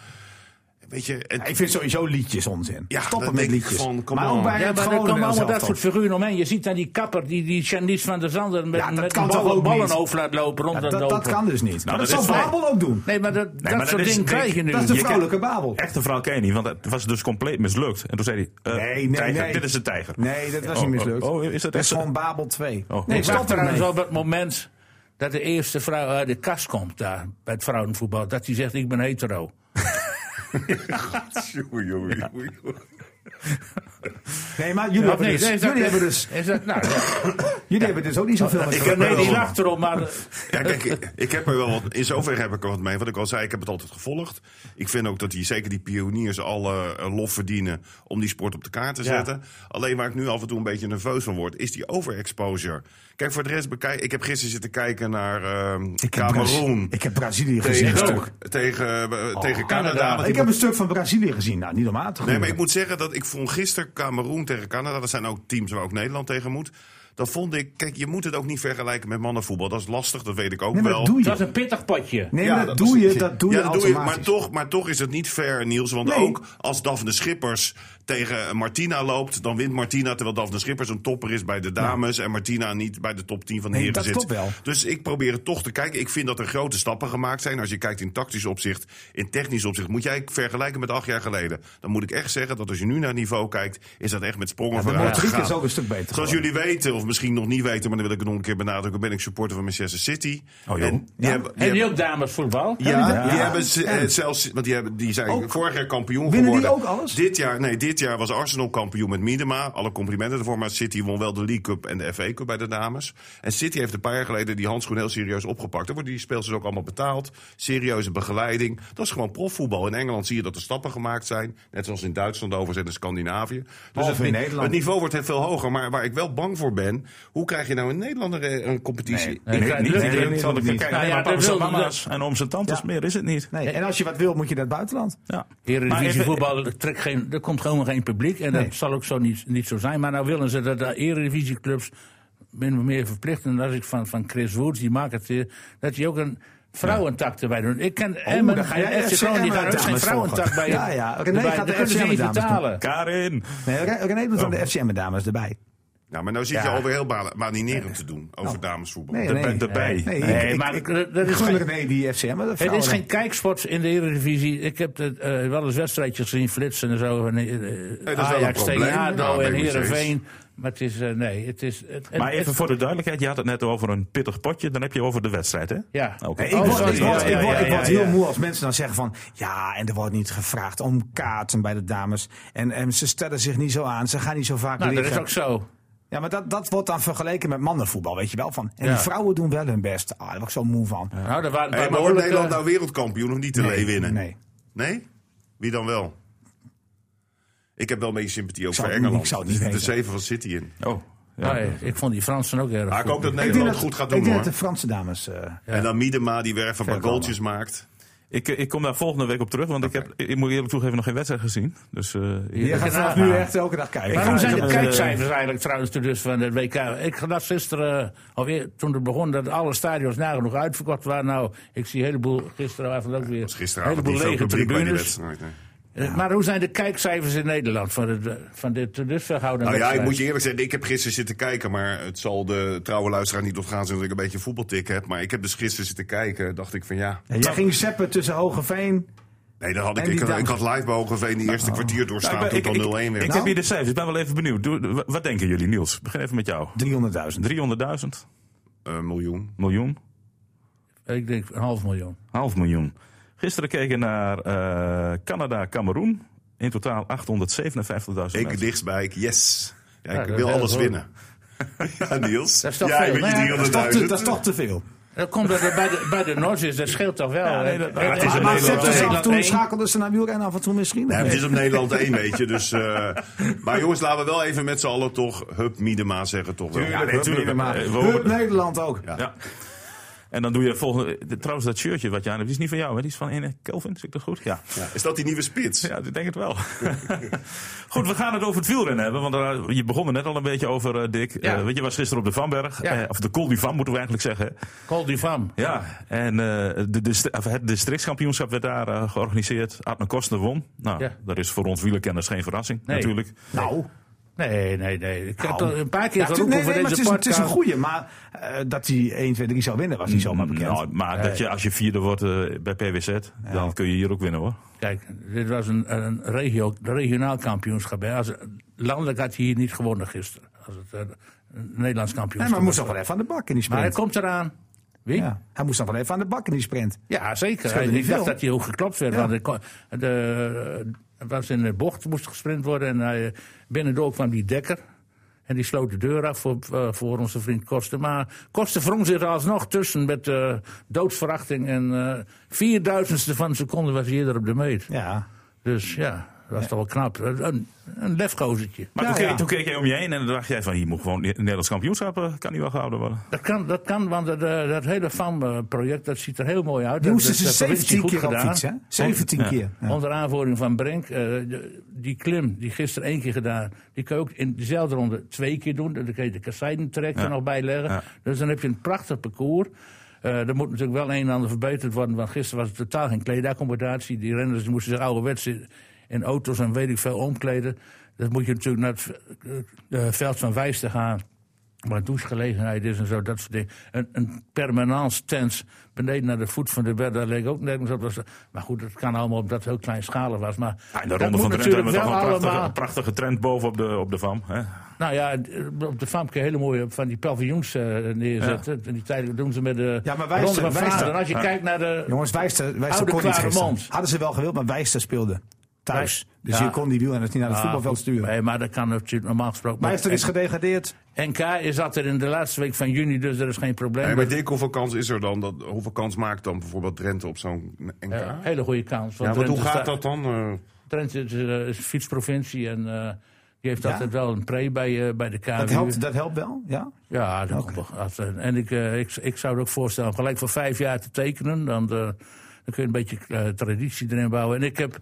Speaker 5: Weet je,
Speaker 4: Ja,
Speaker 5: het,
Speaker 4: Ik vind sowieso liedjes onzin.
Speaker 5: Ja,
Speaker 4: Stoppen
Speaker 5: dat
Speaker 4: met
Speaker 5: denk ik
Speaker 4: liedjes.
Speaker 5: van, come
Speaker 4: maar ook
Speaker 5: on.
Speaker 4: bij
Speaker 3: Ja,
Speaker 4: het
Speaker 3: maar er
Speaker 4: gewone
Speaker 3: komen allemaal
Speaker 4: elftal.
Speaker 3: dat soort figuren omheen. Je ziet dan die kapper, die, die Janice van der Zanden met,
Speaker 4: Ja, dat
Speaker 3: met
Speaker 4: kan
Speaker 3: een
Speaker 4: toch
Speaker 3: ballen,
Speaker 4: ook niet?
Speaker 3: ballenhoofd laat lopen, rond
Speaker 4: Ja,
Speaker 3: laat
Speaker 4: dat,
Speaker 3: lopen.
Speaker 4: dat kan dus niet. maar dat,
Speaker 2: dat
Speaker 4: zal
Speaker 2: is-
Speaker 4: Babel ook doen.
Speaker 3: Nee, maar dat, dat
Speaker 2: maar
Speaker 3: soort
Speaker 2: dat is-
Speaker 3: dingen
Speaker 2: nee,
Speaker 3: krijg je nu.
Speaker 4: Dat is de
Speaker 2: Je kan-
Speaker 4: vrouwelijke Babel.
Speaker 2: Echte verhaal ken je niet, want het was dus compleet mislukt. En toen zei hij: eh,
Speaker 4: Nee, nee,
Speaker 2: tijger,
Speaker 4: nee.
Speaker 2: Dit is een tijger.
Speaker 4: Nee, dat was
Speaker 2: Oh,
Speaker 4: niet mislukt.
Speaker 2: oh, oh, is dat
Speaker 4: is
Speaker 2: echt-
Speaker 4: gewoon Babel 2.
Speaker 2: Oh,
Speaker 4: nee,
Speaker 2: ik
Speaker 3: Ik
Speaker 4: stop
Speaker 3: wacht trouwens
Speaker 4: ermee.
Speaker 3: op het moment dat de eerste vrouw uit de kast komt daar bij het vrouwenvoetbal. Dat die zegt, ik ben hetero.
Speaker 5: Joei, joei, joei, joei.
Speaker 4: Nee, maar jullie
Speaker 3: Of
Speaker 4: hebben
Speaker 3: nee,
Speaker 4: dus-
Speaker 3: is dat-
Speaker 4: jullie hebben dus-
Speaker 3: is dat- nou, ja.
Speaker 4: jullie hebben dus ook niet zoveel met
Speaker 5: ik
Speaker 4: elkaar.
Speaker 5: heb-
Speaker 3: Nee, die lacht erom, maar... eh,
Speaker 5: Ja, kijk, ik, ik heb er wel wat, in zoverre heb ik er wat mee. Wat ik al zei, ik heb het altijd gevolgd. Ik vind ook dat die, zeker die pioniers alle eh, lof verdienen om die sport op de kaart te
Speaker 3: Ja.
Speaker 5: zetten. Alleen waar ik nu af en toe een beetje nerveus van word, is die overexposure. Kijk, voor de rest bekijk. Ik heb gisteren zitten kijken naar ehm
Speaker 4: Ik heb Brazilië-
Speaker 5: Cameroen.
Speaker 4: Ik heb Brazilië gezien. een
Speaker 5: Tegen,
Speaker 4: stuk. Oh,
Speaker 5: tegen, eh, tegen
Speaker 3: Canada.
Speaker 5: Canada. want die
Speaker 4: Ik heb een stuk van Brazilië gezien. Nou, niet normaal. te
Speaker 5: Nee, maar
Speaker 4: doen.
Speaker 5: ik moet zeggen dat ik vond gisteren Cameroen tegen Canada. Dat zijn ook teams waar ook Nederland tegen moet. Dat vond ik. Kijk, je moet het ook niet vergelijken met mannenvoetbal. Dat is lastig, dat weet ik ook
Speaker 4: Nee, maar
Speaker 5: wel.
Speaker 4: dat doe
Speaker 3: Het
Speaker 4: je.
Speaker 3: was een pittig potje.
Speaker 4: Nee,
Speaker 5: Ja,
Speaker 4: maar dat
Speaker 5: dat
Speaker 4: doe
Speaker 5: was-
Speaker 4: je. Dat doe je
Speaker 5: ja, dat doe je, maar,
Speaker 4: automatisch.
Speaker 5: toch, maar toch is het niet fair, Niels. Want
Speaker 4: Nee.
Speaker 5: ook als Daphne Schippers tegen Martina loopt, dan wint Martina. Terwijl Daphne Schippers een topper is bij de dames. En Martina niet bij de top 10 van de
Speaker 4: Nee,
Speaker 5: heren
Speaker 4: dat
Speaker 5: zit.
Speaker 4: klopt wel.
Speaker 5: Dus ik probeer het toch te kijken. Ik vind dat er grote stappen gemaakt zijn. Als je kijkt in tactisch opzicht, in technisch opzicht. Moet jij vergelijken met acht jaar geleden. Dan moet ik echt zeggen dat als je nu naar het niveau kijkt, is dat echt met sprongen
Speaker 4: Ja, de
Speaker 5: vooruit
Speaker 4: motoriek
Speaker 5: gegaan.
Speaker 4: is ook een stuk beter
Speaker 5: Zoals
Speaker 4: geworden.
Speaker 5: jullie weten, of of misschien nog niet weten, maar dan wil ik het nog een keer benadrukken, ben ik supporter van Manchester City.
Speaker 2: Oh, joh.
Speaker 5: en die hebben, die
Speaker 3: En die
Speaker 5: hebben-
Speaker 3: ook damesvoetbal?
Speaker 5: ja, die hebben ze, eh, zelfs, want die, hebben, die zijn vorig jaar kampioen
Speaker 4: Winnen die
Speaker 5: geworden.
Speaker 4: ook alles?
Speaker 5: Dit jaar, nee, dit jaar was Arsenal kampioen met Miedema. Alle complimenten ervoor, maar City won wel de League Cup en de FA Cup bij de dames. En City heeft een paar jaar geleden die handschoen heel serieus opgepakt. Daar worden die speelsters ook allemaal betaald. Serieuze begeleiding. Dat is gewoon profvoetbal. In Engeland zie je dat er stappen gemaakt zijn. Net zoals in Duitsland overigens en in Scandinavië. Dus
Speaker 4: Behalve
Speaker 5: het,
Speaker 4: in
Speaker 5: ni-
Speaker 4: Nederland.
Speaker 5: het niveau wordt heel veel hoger. Maar waar ik wel bang voor ben, hoe krijg je nou in Nederland een, een competitie?
Speaker 3: Nee,
Speaker 2: Nee,
Speaker 3: dat
Speaker 2: niet
Speaker 3: lukt
Speaker 2: iedereen
Speaker 3: niet.
Speaker 2: zal ik
Speaker 4: Nou
Speaker 2: kijken naar
Speaker 3: ja,
Speaker 2: mijn
Speaker 3: dat
Speaker 2: papa's en
Speaker 3: wilde-
Speaker 2: mama's en ooms en tantes.
Speaker 4: Ja.
Speaker 2: Meer is het niet.
Speaker 4: Nee, en als je wat wil, moet je naar het buitenland.
Speaker 2: Ja. Maar even-
Speaker 3: Eredivisievoetbal, er, trekt geen- er komt gewoon geen publiek. En
Speaker 4: Nee.
Speaker 3: dat zal ook zo niet, niet zo zijn. Maar nou willen ze dat de eredivisieclubs min of meer verplichten. En als ik van, van Chris Woods, die marketeer, dat hij ook een vrouwentak erbij doet. Ik ken Emmen
Speaker 4: dan ga jij
Speaker 3: en FC
Speaker 4: FC
Speaker 3: Groningen, die gaan
Speaker 4: Emmen
Speaker 3: ook geen
Speaker 4: dames volgen.
Speaker 3: vrouwentak bij.
Speaker 4: Ja, ja. René
Speaker 3: erbij.
Speaker 4: gaat
Speaker 3: Dat
Speaker 4: de
Speaker 3: kunnen ze
Speaker 4: FC
Speaker 3: niet
Speaker 4: dames doen.
Speaker 3: betalen.
Speaker 2: Karin.
Speaker 4: Nee, Re- René doet dan de FCM-dames erbij.
Speaker 5: Nou, maar nou zit je
Speaker 4: Ja. Oh.
Speaker 5: alweer heel ba- baninerend te doen over damesvoetbal.
Speaker 4: Nee,
Speaker 5: Dat-
Speaker 4: nee.
Speaker 2: erbij.
Speaker 4: Nee,
Speaker 2: Nee,
Speaker 4: ik- ik-
Speaker 3: maar
Speaker 4: ik-
Speaker 3: er- er is
Speaker 4: gun
Speaker 3: geen-
Speaker 4: René die FCM. maar de
Speaker 3: Het
Speaker 4: vrouwen
Speaker 3: is geen kijksport in de Eredivisie. Ik heb het, eh, wel eens wedstrijdjes gezien flitsen en zo. En, eh,
Speaker 5: wel een
Speaker 3: Ajax
Speaker 5: probleem.
Speaker 3: tegen ADO
Speaker 5: Ja,
Speaker 3: en
Speaker 5: ben ik met je eens.
Speaker 3: Heerenveen. Maar het is, eh, nee, het is... het- het-
Speaker 2: Maar even
Speaker 3: het-
Speaker 2: voor de duidelijkheid, je had het net over een pittig potje. Dan heb je over de wedstrijd, hè?
Speaker 3: Ja.
Speaker 2: Oké.
Speaker 4: Nee,
Speaker 3: Oh,
Speaker 4: ik word,
Speaker 3: sorry.
Speaker 4: ik word,
Speaker 3: Ja,
Speaker 4: ik
Speaker 3: ja,
Speaker 4: word,
Speaker 3: ja,
Speaker 4: ik word
Speaker 3: ja,
Speaker 4: heel
Speaker 3: ja.
Speaker 4: moe als mensen dan zeggen van... ja, en er wordt niet gevraagd om kaarten bij de dames. En, en ze stellen zich niet zo aan, ze gaan niet zo vaak
Speaker 3: Nou, dat
Speaker 4: liggen.
Speaker 3: is ook zo.
Speaker 4: Ja, maar dat, dat wordt dan vergeleken met mannenvoetbal, weet je wel. Van. En
Speaker 3: Ja.
Speaker 4: die vrouwen doen wel hun best. Ah, daar word ik zo moe van.
Speaker 3: Nou, er waren
Speaker 5: Hey,
Speaker 3: een paar
Speaker 5: maar wordt
Speaker 3: behoorlijke-
Speaker 5: Nederland nou wereldkampioen of niet te lee winnen?
Speaker 4: eh, Nee.
Speaker 5: Nee? Wie dan wel? Ik heb wel een beetje sympathie ook
Speaker 4: zou
Speaker 5: voor
Speaker 4: het niet-
Speaker 5: Engeland.
Speaker 4: ik zou het
Speaker 5: Er
Speaker 4: niet
Speaker 5: zitten
Speaker 4: weten.
Speaker 5: zeven van City in.
Speaker 2: Oh. Ja.
Speaker 3: Nou, ja, ik vond die Fransen ook erg
Speaker 5: Maar ik
Speaker 3: goed.
Speaker 5: hoop dat
Speaker 4: ik denk
Speaker 5: Nederland
Speaker 4: dat,
Speaker 5: het goed gaat
Speaker 4: ik
Speaker 5: doen
Speaker 4: denk
Speaker 5: hoor.
Speaker 4: dat de Franse dames... eh,
Speaker 3: Ja.
Speaker 5: En dan Miedema die weer even een paar
Speaker 4: Verder
Speaker 5: goaltjes maakt.
Speaker 2: Ik, ik kom daar volgende week op terug, want ik, heb, ik moet eerlijk toegeven nog geen wedstrijd gezien. Dus, eh, ik-
Speaker 4: je gaat
Speaker 3: Ja.
Speaker 4: vanaf nu echt elke dag kijken.
Speaker 3: Waarom
Speaker 2: ga-
Speaker 3: zijn
Speaker 2: ik
Speaker 3: de
Speaker 2: heb, eh,
Speaker 3: kijkcijfers eigenlijk trouwens dus van het WK? Ik las gisteren, eh, of eer- toen het begon, dat alle stadions nagenoeg uitverkocht waren. Nou, ik zie een heleboel, gisteravond ook weer, een
Speaker 5: Gisteravond
Speaker 3: heleboel
Speaker 5: niet veel
Speaker 3: lege
Speaker 5: publiek bij die
Speaker 3: tribunes.
Speaker 5: wedstrijd. nee.
Speaker 4: Nou,
Speaker 3: Eh, Maar hoe zijn de kijkcijfers in Nederland van, het, eh, van dit tot dusver gehouden
Speaker 5: Nou ja, ik
Speaker 3: wedstrijd?
Speaker 5: moet je eerlijk zeggen, ik heb gisteren zitten kijken. Maar het zal de trouwe luisteraar niet ontgaan zijn dat ik een beetje een voetbaltik heb. Maar ik heb dus gisteren zitten kijken. Dacht ik van ja.
Speaker 4: Ja, jij ging zeppen tussen Hogeveen.
Speaker 5: Nee, dan had
Speaker 4: En
Speaker 5: ik,
Speaker 4: die
Speaker 5: ik, had, ik
Speaker 4: dames.
Speaker 5: had live bij Hogeveen die eerste kwartier
Speaker 2: Nou,
Speaker 5: doorstaan.
Speaker 2: ik ben-
Speaker 5: Toen
Speaker 2: ik-
Speaker 5: het
Speaker 2: ik-
Speaker 5: al 0-1
Speaker 2: ik,
Speaker 5: werd.
Speaker 2: heb hier de cijfers, ik ben wel even benieuwd. Doe- w- wat denken jullie, Niels? Begin even met jou.
Speaker 4: 300.000.
Speaker 2: 300.000,
Speaker 5: Eh, miljoen.
Speaker 2: miljoen,
Speaker 3: Ik denk een half miljoen.
Speaker 2: half miljoen. Gisteren keken naar eh canada Cameroen. In totaal 857.000
Speaker 5: Ik
Speaker 2: mensen.
Speaker 5: dichtstbij, ik- yes. Ja,
Speaker 3: Ja,
Speaker 5: ik
Speaker 3: dat
Speaker 5: wil
Speaker 3: is
Speaker 5: alles
Speaker 3: heel
Speaker 5: winnen. ja, Niels.
Speaker 3: Dat is toch
Speaker 5: ja,
Speaker 3: veel,
Speaker 5: met je
Speaker 3: hè?
Speaker 4: Dat is toch te-
Speaker 5: 300.000.
Speaker 4: dat is toch te veel.
Speaker 3: Dat komt dat het bij de, bij de Noors is, dat scheelt toch wel?
Speaker 2: nee, dat- maar het is
Speaker 4: Maar,
Speaker 2: een
Speaker 4: maar
Speaker 2: Nederland
Speaker 4: zepten ze
Speaker 2: één.
Speaker 4: af en toe, schakelden ze naar wielrennen af en toe misschien? Nee.
Speaker 5: Nee, maar het is op Nederland 1, weet je. Dus, eh, maar jongens, laten we wel even met z'n allen toch Hup Miedema zeggen. Toch wel.
Speaker 4: Ja, natuurlijk. Maar
Speaker 2: Eh, we-
Speaker 4: Hup, Nederland ook.
Speaker 2: Ja. En dan doe je volgende. de- Trouwens, dat shirtje wat je aan hebt, die is niet van jou, hè? Die is van een Kelvin, zeg ik dat goed? Ja.
Speaker 5: Ja. Is dat die nieuwe spits?
Speaker 2: Ja, ik denk het wel. Goed, we gaan het over het wielrennen hebben. Want daar- je begon er net al een beetje over, eh, Dick.
Speaker 3: Ja.
Speaker 2: Eh, want je was gisteren op de Vanberg.
Speaker 3: Ja.
Speaker 2: eh, of de Col du Van, moeten we eigenlijk zeggen.
Speaker 3: Col du Vam.
Speaker 2: Ja, en eh, de, dist- of het districtskampioenschap werd daar eh, georganiseerd. Adne Koster won. Nou,
Speaker 3: Ja.
Speaker 2: dat is voor ons wielerkenners geen verrassing,
Speaker 3: Nee.
Speaker 2: natuurlijk.
Speaker 4: Nou,
Speaker 3: Nee, nee, nee. Ik heb
Speaker 4: Nou.
Speaker 3: er een paar keer
Speaker 4: ja,
Speaker 3: geroepen
Speaker 4: nee,
Speaker 3: voor
Speaker 4: nee, maar het
Speaker 3: deze
Speaker 4: is, een- het is
Speaker 3: podcast.
Speaker 4: een goeie. Maar eh, dat hij 1, 2, 3 zou winnen was niet zomaar bekend.
Speaker 2: Nou, maar dat je, als je vierde wordt eh, bij PWZ, dan kun je hier ook winnen, hoor.
Speaker 3: Kijk, dit was een, een regio, regionaal kampioenschap. hè. Als, landelijk had hij hier niet gewonnen gisteren. Als het eh, een Nederlands
Speaker 4: nee,
Speaker 3: kampioenschap
Speaker 4: maar hij moest
Speaker 3: was.
Speaker 4: nog wel even aan de bak in die
Speaker 3: Maar hij
Speaker 4: sprint.
Speaker 3: komt eraan. Wie? Ja,
Speaker 4: ja, hij moest nog wel even aan de bak in die sprint.
Speaker 3: zeker.
Speaker 4: Scheelde
Speaker 3: Hij-
Speaker 4: niet
Speaker 3: Ik dacht
Speaker 4: veel.
Speaker 3: dat hij ook geklopt werd.
Speaker 4: Ja.
Speaker 3: Want de, ko- de, het was in de bocht, moest gesprint worden. En hij, binnendoor kwam die dekker. En die sloot de deur af voor, eh, voor onze vriend Kosten. Maar Kosten wrong zich er alsnog tussen met eh, doodsverachting. En eh vierduizendste van een seconde was hij eerder op de meet.
Speaker 4: Ja.
Speaker 3: Dus ja, dat was toch wel knap. Een, een lefgozertje.
Speaker 2: Maar
Speaker 4: Ja,
Speaker 2: toen, keek,
Speaker 4: ja.
Speaker 2: toen keek jij om je heen en dan dacht jij van hier moet gewoon het Nederlands kampioenschap eh, kan niet wel gehouden worden.
Speaker 3: Dat kan, dat kan want dat, eh, dat hele FAM-project dat ziet er heel mooi uit.
Speaker 4: Die
Speaker 3: Dat-
Speaker 4: moesten
Speaker 3: dus dat
Speaker 4: ze
Speaker 3: heeft de provincie
Speaker 4: 17 keer
Speaker 3: goed
Speaker 4: op
Speaker 3: gedaan.
Speaker 4: fietsen. hè? 17
Speaker 2: Ja.
Speaker 4: keer. Ja.
Speaker 3: Onder aanvoering van Brink, eh, de- die klim die gisteren één keer gedaan, die kun je ook in dezelfde ronde twee keer doen. Dan kun je de kasseitentrek
Speaker 2: Ja.
Speaker 3: er nog bij leggen.
Speaker 2: Ja.
Speaker 3: Dus dan heb je een prachtig parcours. Eh er moet natuurlijk wel een en ander verbeterd worden, want gisteren was het totaal geen kleedaccommodatie. Die renners die moesten zich ouderwets in, in auto's en weet ik veel omkleden. Dat moet je natuurlijk naar het eh, eh, veld van Wijsten gaan. waar douchegelegenheid is en zo, dat soort dingen. Een, een permanence tent beneden naar de voet van de bed, daar leek ook nergens op. Dat was- Maar goed, dat kan allemaal omdat het heel kleinschalig was. Maar
Speaker 2: Ja, Nou, in de
Speaker 3: dat
Speaker 2: ronde van
Speaker 3: moet
Speaker 2: Drenthe hebben we toch
Speaker 3: natuurlijk
Speaker 2: een
Speaker 3: wel
Speaker 2: prachtige,
Speaker 3: allemaal-
Speaker 2: prachtige trend boven op de, op de VAM. Hè?
Speaker 3: Nou ja, d- op de FAM kun je hele mooie van die paviljoens eh, neerzetten. En die tijden doen ze met de
Speaker 4: Ja, maar wij
Speaker 3: ronde
Speaker 4: zijn-
Speaker 3: van
Speaker 4: wij
Speaker 3: Vlaanderen.
Speaker 4: zijn-
Speaker 3: Als je kijkt naar de...
Speaker 4: Jongens, Wijster, Wijster
Speaker 3: Oude
Speaker 4: kon niet gisteren.
Speaker 3: Klaremond.
Speaker 4: Hadden ze wel gewild, maar Wijster speelde thuis. Dus
Speaker 3: Ja.
Speaker 4: je kon die wielrenners niet naar het
Speaker 3: Ah,
Speaker 4: voetbalveld
Speaker 3: goed,
Speaker 4: sturen.
Speaker 3: Nee, maar dat kan natuurlijk normaal gesproken. Maar
Speaker 4: Wijster is gedegradeerd.
Speaker 3: NK is dat er in de laatste week van juni, dus er is geen probleem.
Speaker 5: Nee, maar Dick, hoeveel kans is er dan? Dat, hoeveel kans maakt dan bijvoorbeeld Drenthe op zo'n NK?
Speaker 3: Ja,
Speaker 5: Ja,
Speaker 3: hele goede kans. Want
Speaker 5: want hoe
Speaker 3: Drenthe
Speaker 5: gaat
Speaker 3: sta-
Speaker 5: dat dan? eh?
Speaker 3: Drenthe is, eh, is een fietsprovincie en eh, die heeft altijd wel een pre bij, eh, bij de KWU.
Speaker 4: Dat helpt, dat helpt wel, ja.
Speaker 3: Ja, dat komt wel. Als, eh, En ik, eh, ik, ik zou het ook voorstellen om gelijk voor vijf jaar te tekenen. Dan, eh, dan kun je een beetje eh, traditie erin bouwen. En ik heb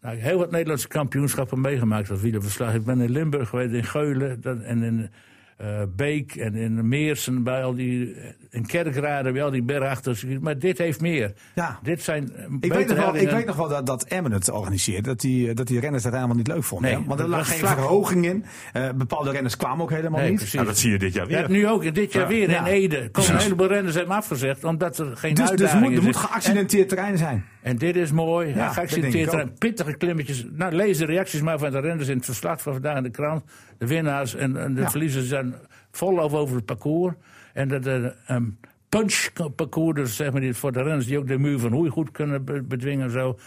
Speaker 3: nou, heel wat Nederlandse kampioenschappen meegemaakt als wielerverslag. Ik ben in Limburg geweest, in Geulen dan- en in eh, Beek en in Meersen. Bij al die, eh, in Kerkrade, bij al die bergachters. Maar dit heeft meer.
Speaker 4: Ja.
Speaker 3: Dit zijn
Speaker 4: Ik
Speaker 3: eh,
Speaker 4: weet, nog wel, ik
Speaker 3: beterhellingen.
Speaker 4: weet nog wel dat, dat Emmen het organiseerde. Dat die, dat die renners dat helemaal niet leuk vonden.
Speaker 3: Nee,
Speaker 4: hè? Want er
Speaker 3: dat
Speaker 4: lag
Speaker 3: was
Speaker 4: geen
Speaker 3: vlak.
Speaker 4: verhoging in. Eh, bepaalde renners kwamen ook helemaal
Speaker 3: Nee,
Speaker 4: niet.
Speaker 3: precies.
Speaker 2: Nou, dat zie je dit jaar
Speaker 3: Je hebt
Speaker 2: weer.
Speaker 3: nu ook dit jaar weer in
Speaker 4: Ja.
Speaker 3: Ede. Komen een heleboel renners hebben afgezegd omdat er geen
Speaker 4: Dus, dus
Speaker 3: uitdaging
Speaker 4: moet, er
Speaker 3: is.
Speaker 4: moet
Speaker 3: En-
Speaker 4: geaccidenteerd terrein zijn.
Speaker 3: En dit is mooi. Ja,
Speaker 4: dat denk
Speaker 3: geaccepteerd.
Speaker 4: ik
Speaker 3: terrein.
Speaker 4: ook.
Speaker 3: Pittige klimmetjes. Nou, lees de reacties maar van de renners in het verslag van vandaag in de krant. De winnaars en, en de
Speaker 4: Ja.
Speaker 3: verliezers zijn vol over over het parcours. En dat eh, ehm, punch-parcours, dus zeg maar, die- voor de renners die ook de muur van hoei goed kunnen be- bedwingen en zo.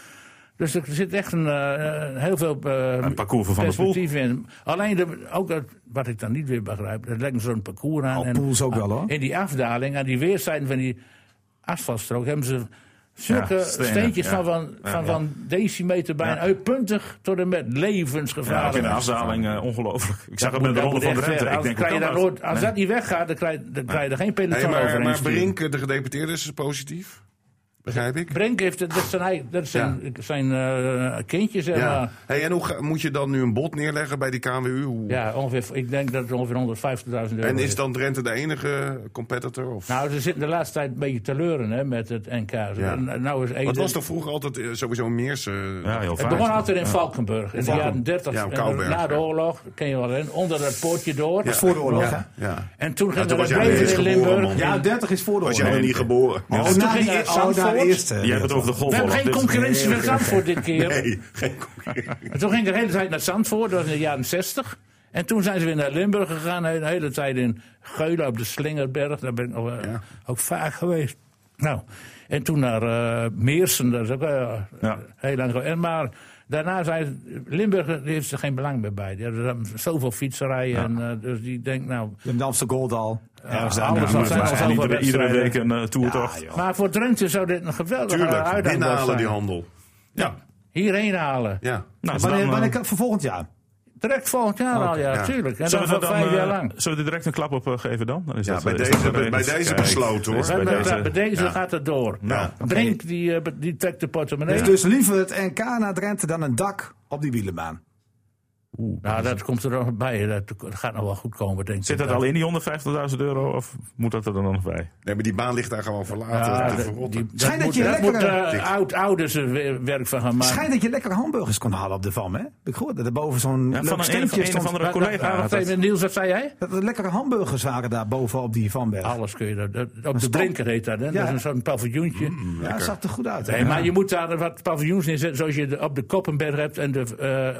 Speaker 3: Dus er zit echt een, eh, eh, heel veel eh,
Speaker 2: Een parcours van Van der Poel.
Speaker 3: perspectief in. Alleen, de, ook dat, wat ik dan niet weer begrijp, dat lijkt me zo'n parcours aan.
Speaker 4: Nou, Poel is ook wel, hoor.
Speaker 3: In die afdaling, aan die weerszijden van die asfaltstrook, hebben ze zulke
Speaker 2: Ja, stenen,
Speaker 3: steentjes
Speaker 2: ja.
Speaker 3: van, van,
Speaker 2: Ja,
Speaker 3: van,
Speaker 2: ja.
Speaker 3: van decimeter bijna uitpuntig tot en met
Speaker 2: Ja, ook in
Speaker 3: levensgevaarlijk.
Speaker 2: de afdaling eh, ongelooflijk. Ik zag het
Speaker 3: Dat
Speaker 2: met
Speaker 3: moet-
Speaker 2: de
Speaker 3: dat
Speaker 2: ronde
Speaker 3: moet
Speaker 2: van
Speaker 3: echt
Speaker 2: Drenthe.
Speaker 3: weg.
Speaker 2: Ik
Speaker 3: Als,
Speaker 2: denk,
Speaker 3: krijg
Speaker 2: hoe
Speaker 3: je
Speaker 2: kan
Speaker 3: daar
Speaker 2: dat?
Speaker 3: nooit- als dat niet weggaat, dan krijg, dan krijg je er geen peloton
Speaker 5: Nee, maar,
Speaker 3: overheen
Speaker 5: maar
Speaker 3: sturen.
Speaker 5: Brink, de gedeputeerde, is dus positief. Begrijp ik?
Speaker 3: Brink heeft het, dat zijn, hij- dat zijn, zijn eh, kindjes, zeg
Speaker 5: Ja.
Speaker 3: maar.
Speaker 5: Hey, en hoe ga- moet je dan nu een bod neerleggen bij die KWU? Hoe-
Speaker 3: Ja, ongeveer, ik denk dat het ongeveer 150.000 euro
Speaker 5: En is dan Drenthe de enige competitor? Of?
Speaker 3: Nou, ze zitten de laatste tijd een beetje te leuren hè, met het NK. En Nou is
Speaker 5: Wat
Speaker 3: Ede-
Speaker 5: was toch vroeger altijd eh, sowieso Meersen?
Speaker 2: Ja, heel
Speaker 3: Het
Speaker 2: vaak.
Speaker 3: begon altijd in Valkenburg. In de
Speaker 5: Valken-
Speaker 3: jaren 30,
Speaker 5: Ja,
Speaker 3: en
Speaker 5: Kouwberg,
Speaker 3: na de
Speaker 5: ja.
Speaker 3: oorlog, ken je wel, hè, onder dat poortje door.
Speaker 4: Dat is voor de oorlog,
Speaker 5: Ja.
Speaker 4: hè?
Speaker 5: Ja.
Speaker 3: En toen ging
Speaker 5: toen
Speaker 3: er
Speaker 5: was
Speaker 3: een
Speaker 5: jij
Speaker 3: breedte
Speaker 5: nog
Speaker 3: in
Speaker 5: niet eens geboren,
Speaker 3: Limburg.
Speaker 5: man.
Speaker 3: Ja,
Speaker 4: Ja, 30 is voor de
Speaker 5: Was
Speaker 4: oorlog.
Speaker 5: jij nog niet geboren? Ja.
Speaker 4: Oh, na
Speaker 3: ging
Speaker 4: die,
Speaker 3: naar
Speaker 4: oh, na de
Speaker 3: Zandvoort.
Speaker 4: eerste.
Speaker 2: Jij hebt het over de golf.
Speaker 3: we hebben geen concurrentie met Zandvoort dit keer.
Speaker 5: Nee, geen concurrentie.
Speaker 3: En toen ging ik de hele tijd naar Zandvoort, dat was in de jaren 60. En toen zijn ze weer naar Limburg gegaan, de hele tijd in Geulen op de Slingerberg. Daar ben ik nog, eh,
Speaker 5: Ja.
Speaker 3: ook vaak geweest. Nou, en toen naar eh, Meersen, dat is ook eh,
Speaker 2: Ja.
Speaker 3: heel lang geleden. En Maar daarna zijn Limburg die heeft er geen belang meer bij. Die hebben zoveel fietserij, en, eh, dus die denkt nou...
Speaker 4: De Amsterdamse Gold al. Ergens daar.
Speaker 3: anders dan zijn er
Speaker 2: En
Speaker 3: zoveel
Speaker 2: iedere, iedere
Speaker 3: wedstrijden.
Speaker 2: week een eh, toertocht.
Speaker 3: Maar voor Drenthe zou dit een geweldige
Speaker 5: Tuurlijk,
Speaker 3: uitdaging
Speaker 5: binnenhalen
Speaker 3: zijn.
Speaker 5: die handel. Ja,
Speaker 3: Hierheen halen.
Speaker 5: ja.
Speaker 2: Nou,
Speaker 4: Wanneer,
Speaker 2: dan, eh,
Speaker 4: wanneer, kan- voor volgend jaar.
Speaker 3: Direct volgend jaar al, ja,
Speaker 5: ja.
Speaker 3: tuurlijk. En
Speaker 2: Zullen
Speaker 3: dan
Speaker 2: we,
Speaker 3: voor
Speaker 2: dan,
Speaker 3: vijf
Speaker 2: eh,
Speaker 3: jaar lang.
Speaker 2: zullen we er direct een klap op eh, geven dan? dan is
Speaker 5: Ja,
Speaker 2: dat,
Speaker 5: bij
Speaker 2: is
Speaker 5: deze-
Speaker 2: dat
Speaker 5: bij-
Speaker 2: geregeld.
Speaker 5: bij deze
Speaker 2: Kijk,
Speaker 5: besloten, hoor.
Speaker 2: dus
Speaker 3: Bij
Speaker 2: bij
Speaker 3: deze,
Speaker 2: deze-
Speaker 5: ja.
Speaker 3: gaat het door.
Speaker 5: Ja.
Speaker 3: Brink die, eh, die trekt de portemonnee.
Speaker 4: Dus liever het NK naar Drenthe dan een dak op die wielenbaan.
Speaker 3: Nou, dat komt er nog bij. Dat gaat nog wel goed komen, denk ik.
Speaker 2: Zit dat al in die 150.000 euro of moet dat er dan nog bij?
Speaker 5: Nee, maar die baan ligt daar gewoon verlaten.
Speaker 3: Ja,
Speaker 5: te
Speaker 3: dat- die-
Speaker 5: verrotten.
Speaker 4: Schijnt dat
Speaker 3: moet,
Speaker 4: je
Speaker 3: dat moet
Speaker 4: lekker-
Speaker 3: eh, oud, ouders er weer werk van gaan maken.
Speaker 4: Schijnt dat je lekker hamburgers kon halen op de Vam, hè? Ik hoorde dat er boven zo'n
Speaker 2: Ja,
Speaker 4: leuk
Speaker 2: van een, een,
Speaker 4: steentje
Speaker 2: een of
Speaker 4: stond.
Speaker 2: andere collega.
Speaker 3: Ah,
Speaker 2: had
Speaker 3: wacht
Speaker 2: dat.
Speaker 3: even, Niels, wat zei jij?
Speaker 4: Dat er lekkere hamburgers waren daar boven op die Vamberg.
Speaker 3: Alles kun je dat. dat- op de
Speaker 4: stok.
Speaker 3: Brinker heet dat, hè?
Speaker 4: Ja.
Speaker 3: Dat is een zo'n paviljoentje.
Speaker 4: ja, dat zag er goed uit. hè?
Speaker 3: Nee, maar je moet daar wat paviljoens neerzetten, zoals je de- op de Koppenberg hebt en de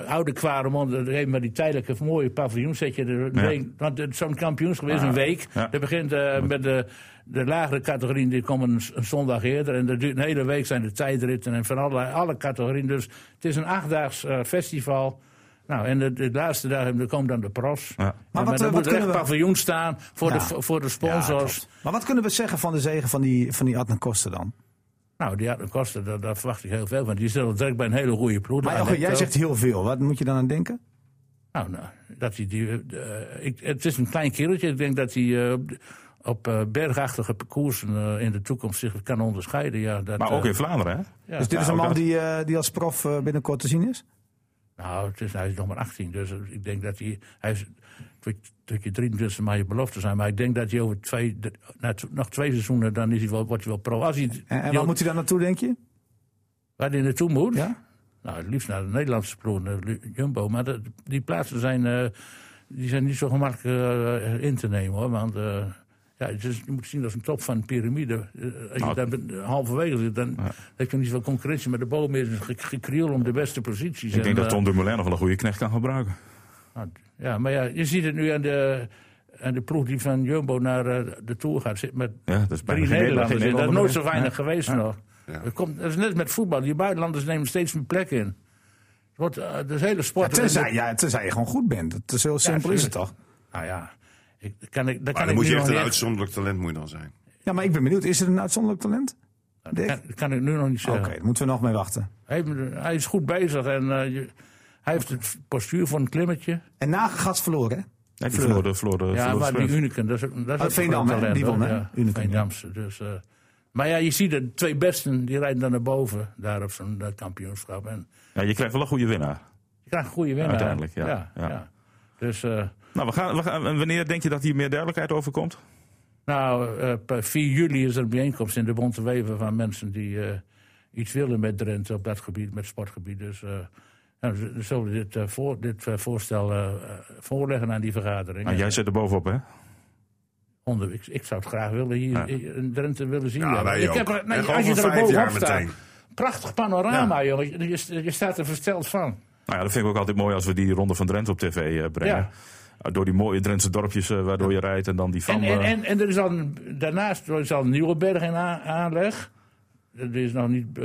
Speaker 3: eh, oude Kwaremond. Dan geef je maar die tijdelijke mooie paviljoens. Zet je er een
Speaker 2: Ja.
Speaker 3: week- want het is zo'n kampioenschap is
Speaker 2: Ah,
Speaker 3: een week.
Speaker 2: ja.
Speaker 3: Dat begint eh, met de, de lagere categorieën, die komen een, s- een zondag eerder. En dat duurt een hele week, zijn de tijdritten en van allerlei, alle categorieën. Dus het is een achtdaags eh, festival. Nou, en de, de laatste dag hebben- dan komen dan de pros.
Speaker 2: Ja. Maar
Speaker 3: Maar,
Speaker 4: wat, eh,
Speaker 3: er
Speaker 4: wat
Speaker 3: moet er echt
Speaker 4: kunnen we-
Speaker 3: paviljoen staan voor,
Speaker 4: Ja.
Speaker 3: de, voor de
Speaker 4: Ja,
Speaker 3: sponsors.
Speaker 4: klopt. maar wat kunnen we zeggen van de zegen van die, van die Adnan Koster dan?
Speaker 3: Nou, die had een kosten, daar, daar verwacht ik heel veel van. Die zullen direct bij een hele goede ploeg.
Speaker 4: Maar
Speaker 3: aan
Speaker 4: Elger,
Speaker 3: heeft
Speaker 4: jij
Speaker 3: ook.
Speaker 4: zegt heel veel. Wat moet je dan aan denken?
Speaker 3: Nou, nou dat hij die, eh, ik, het is een klein kereltje. Ik denk dat hij eh, op, de- op eh, bergachtige parcoursen eh, in de toekomst zich kan onderscheiden. Ja, dat,
Speaker 2: Maar ook
Speaker 3: eh,
Speaker 2: in Vlaanderen, hè?
Speaker 3: ja.
Speaker 4: Dus dit is een
Speaker 2: ook
Speaker 4: man
Speaker 2: dat-
Speaker 4: die, eh, die als prof eh, binnenkort te zien is?
Speaker 3: Nou, het is, hij is nog maar 18, dus eh, ik denk dat hij... hij is, tot, tot je 23 maar je belofte zijn. Maar ik denk dat hij over twee, de- na t- nog twee seizoenen, dan is hij wel, wordt hij wel pro. Als hij,
Speaker 4: En, en
Speaker 3: die-
Speaker 4: waar moet hij dan naartoe, denk je?
Speaker 3: waar hij naartoe moet?
Speaker 4: Ja?
Speaker 3: Nou, het liefst naar de Nederlandse ploeg, naar Lu- Jumbo. Maar dat- die plaatsen zijn eh, die zijn niet zo gemakkelijk eh, in te nemen hoor. Want eh, ja, het is- je moet zien als een top van een piramide. Eh, Als
Speaker 2: Nou,
Speaker 3: je daar bent- halverwege zit, dan heb je niet zoveel concurrentie. Maar de bomen is ge- gekriel om de beste posities.
Speaker 2: Ik denk dat
Speaker 3: eh,
Speaker 2: Tom Dumoulin nog wel een goede knecht kan gebruiken.
Speaker 3: nou, Ja, maar ja, je ziet het nu aan de, aan de ploeg die van Jumbo naar eh, de Tour gaat zitten. Met
Speaker 2: Ja, dat is bijna
Speaker 3: drie
Speaker 2: geen Nederlander,
Speaker 3: Nederlanders. in. Dat is
Speaker 2: geen
Speaker 3: nooit zo
Speaker 2: Nederlander.
Speaker 3: weinig geweest nog.
Speaker 5: Ja.
Speaker 3: Dat, komt, dat is net met voetbal. Die buitenlanders nemen steeds meer plek in. Het wordt, eh, dat is hele sport.
Speaker 4: tenzij, ja, tenzij je gewoon goed bent. Dat is heel simpel is het toch?
Speaker 3: Nou ja, ik, dat kan ik, dat
Speaker 5: Maar
Speaker 3: kan
Speaker 5: dan
Speaker 3: ik
Speaker 5: moet
Speaker 3: nu
Speaker 5: je echt
Speaker 3: nog
Speaker 5: een
Speaker 3: niet echt-
Speaker 5: uitzonderlijk talent moet je dan zijn.
Speaker 4: Ja, maar ik ben benieuwd. Is er een uitzonderlijk talent?
Speaker 3: dat kan, dat kan ik nu nog niet
Speaker 4: Oké,
Speaker 3: zeggen.
Speaker 4: daar moeten we nog mee wachten.
Speaker 3: Hij, hij is goed bezig en eh, je- hij heeft het postuur voor een klimmetje.
Speaker 4: En Nagegas verloren, hè?
Speaker 2: Nee, die verloor de, verloor de,
Speaker 3: Ja,
Speaker 2: verloor de
Speaker 3: maar die
Speaker 2: sprint.
Speaker 3: Unicum, dat is ook, dat is ook
Speaker 4: Oh, Veendam,
Speaker 3: een groot
Speaker 4: hè?
Speaker 3: talent.
Speaker 4: Die won,
Speaker 3: hoor.
Speaker 4: hè?
Speaker 3: Ja,
Speaker 4: Unicum,
Speaker 3: Veendamse. Dus, eh, maar ja, je ziet de twee besten, die rijden dan naar boven. Daar op zo'n eh, kampioenschap. En
Speaker 2: Ja, je krijgt wel een goede winnaar.
Speaker 3: je krijgt een goede winnaar.
Speaker 2: Uiteindelijk, ja. Ja.
Speaker 3: Dus, eh,
Speaker 2: Nou, we gaan, we gaan, en wanneer denk je dat hier meer duidelijkheid over komt?
Speaker 3: nou, eh, per 4 juli is er een bijeenkomst in de Bonte Weven van mensen die eh, iets willen met Drenthe op dat gebied, met sportgebied. Dus eh nou, ze- ze zullen dit, eh, voor, dit eh, voorstel eh, eh, voorleggen aan die vergadering.
Speaker 2: Nou, jij zit er bovenop, hè?
Speaker 3: Onder, ik, ik zou het graag willen
Speaker 2: Ja.
Speaker 3: hier in Drenthe willen zien.
Speaker 5: Ja, wij
Speaker 3: ik
Speaker 5: ook.
Speaker 3: Heb er, nee,
Speaker 5: En
Speaker 3: als je
Speaker 5: over
Speaker 3: er
Speaker 5: vijf
Speaker 3: bovenop
Speaker 5: jaar
Speaker 3: staat.
Speaker 5: meteen.
Speaker 3: Prachtig panorama, jongen. Je, je staat er versteld van.
Speaker 2: Nou ja, dat vind ik ook altijd mooi als we die ronde van Drenthe op tv eh, brengen.
Speaker 3: Ja.
Speaker 2: Uh, Door die mooie Drentse dorpjes eh, waardoor je rijdt en dan die van. eh,
Speaker 3: En, en, en, en er is dan, daarnaast is al Nieuwenberg in a- aanleg. Die is nog niet eh,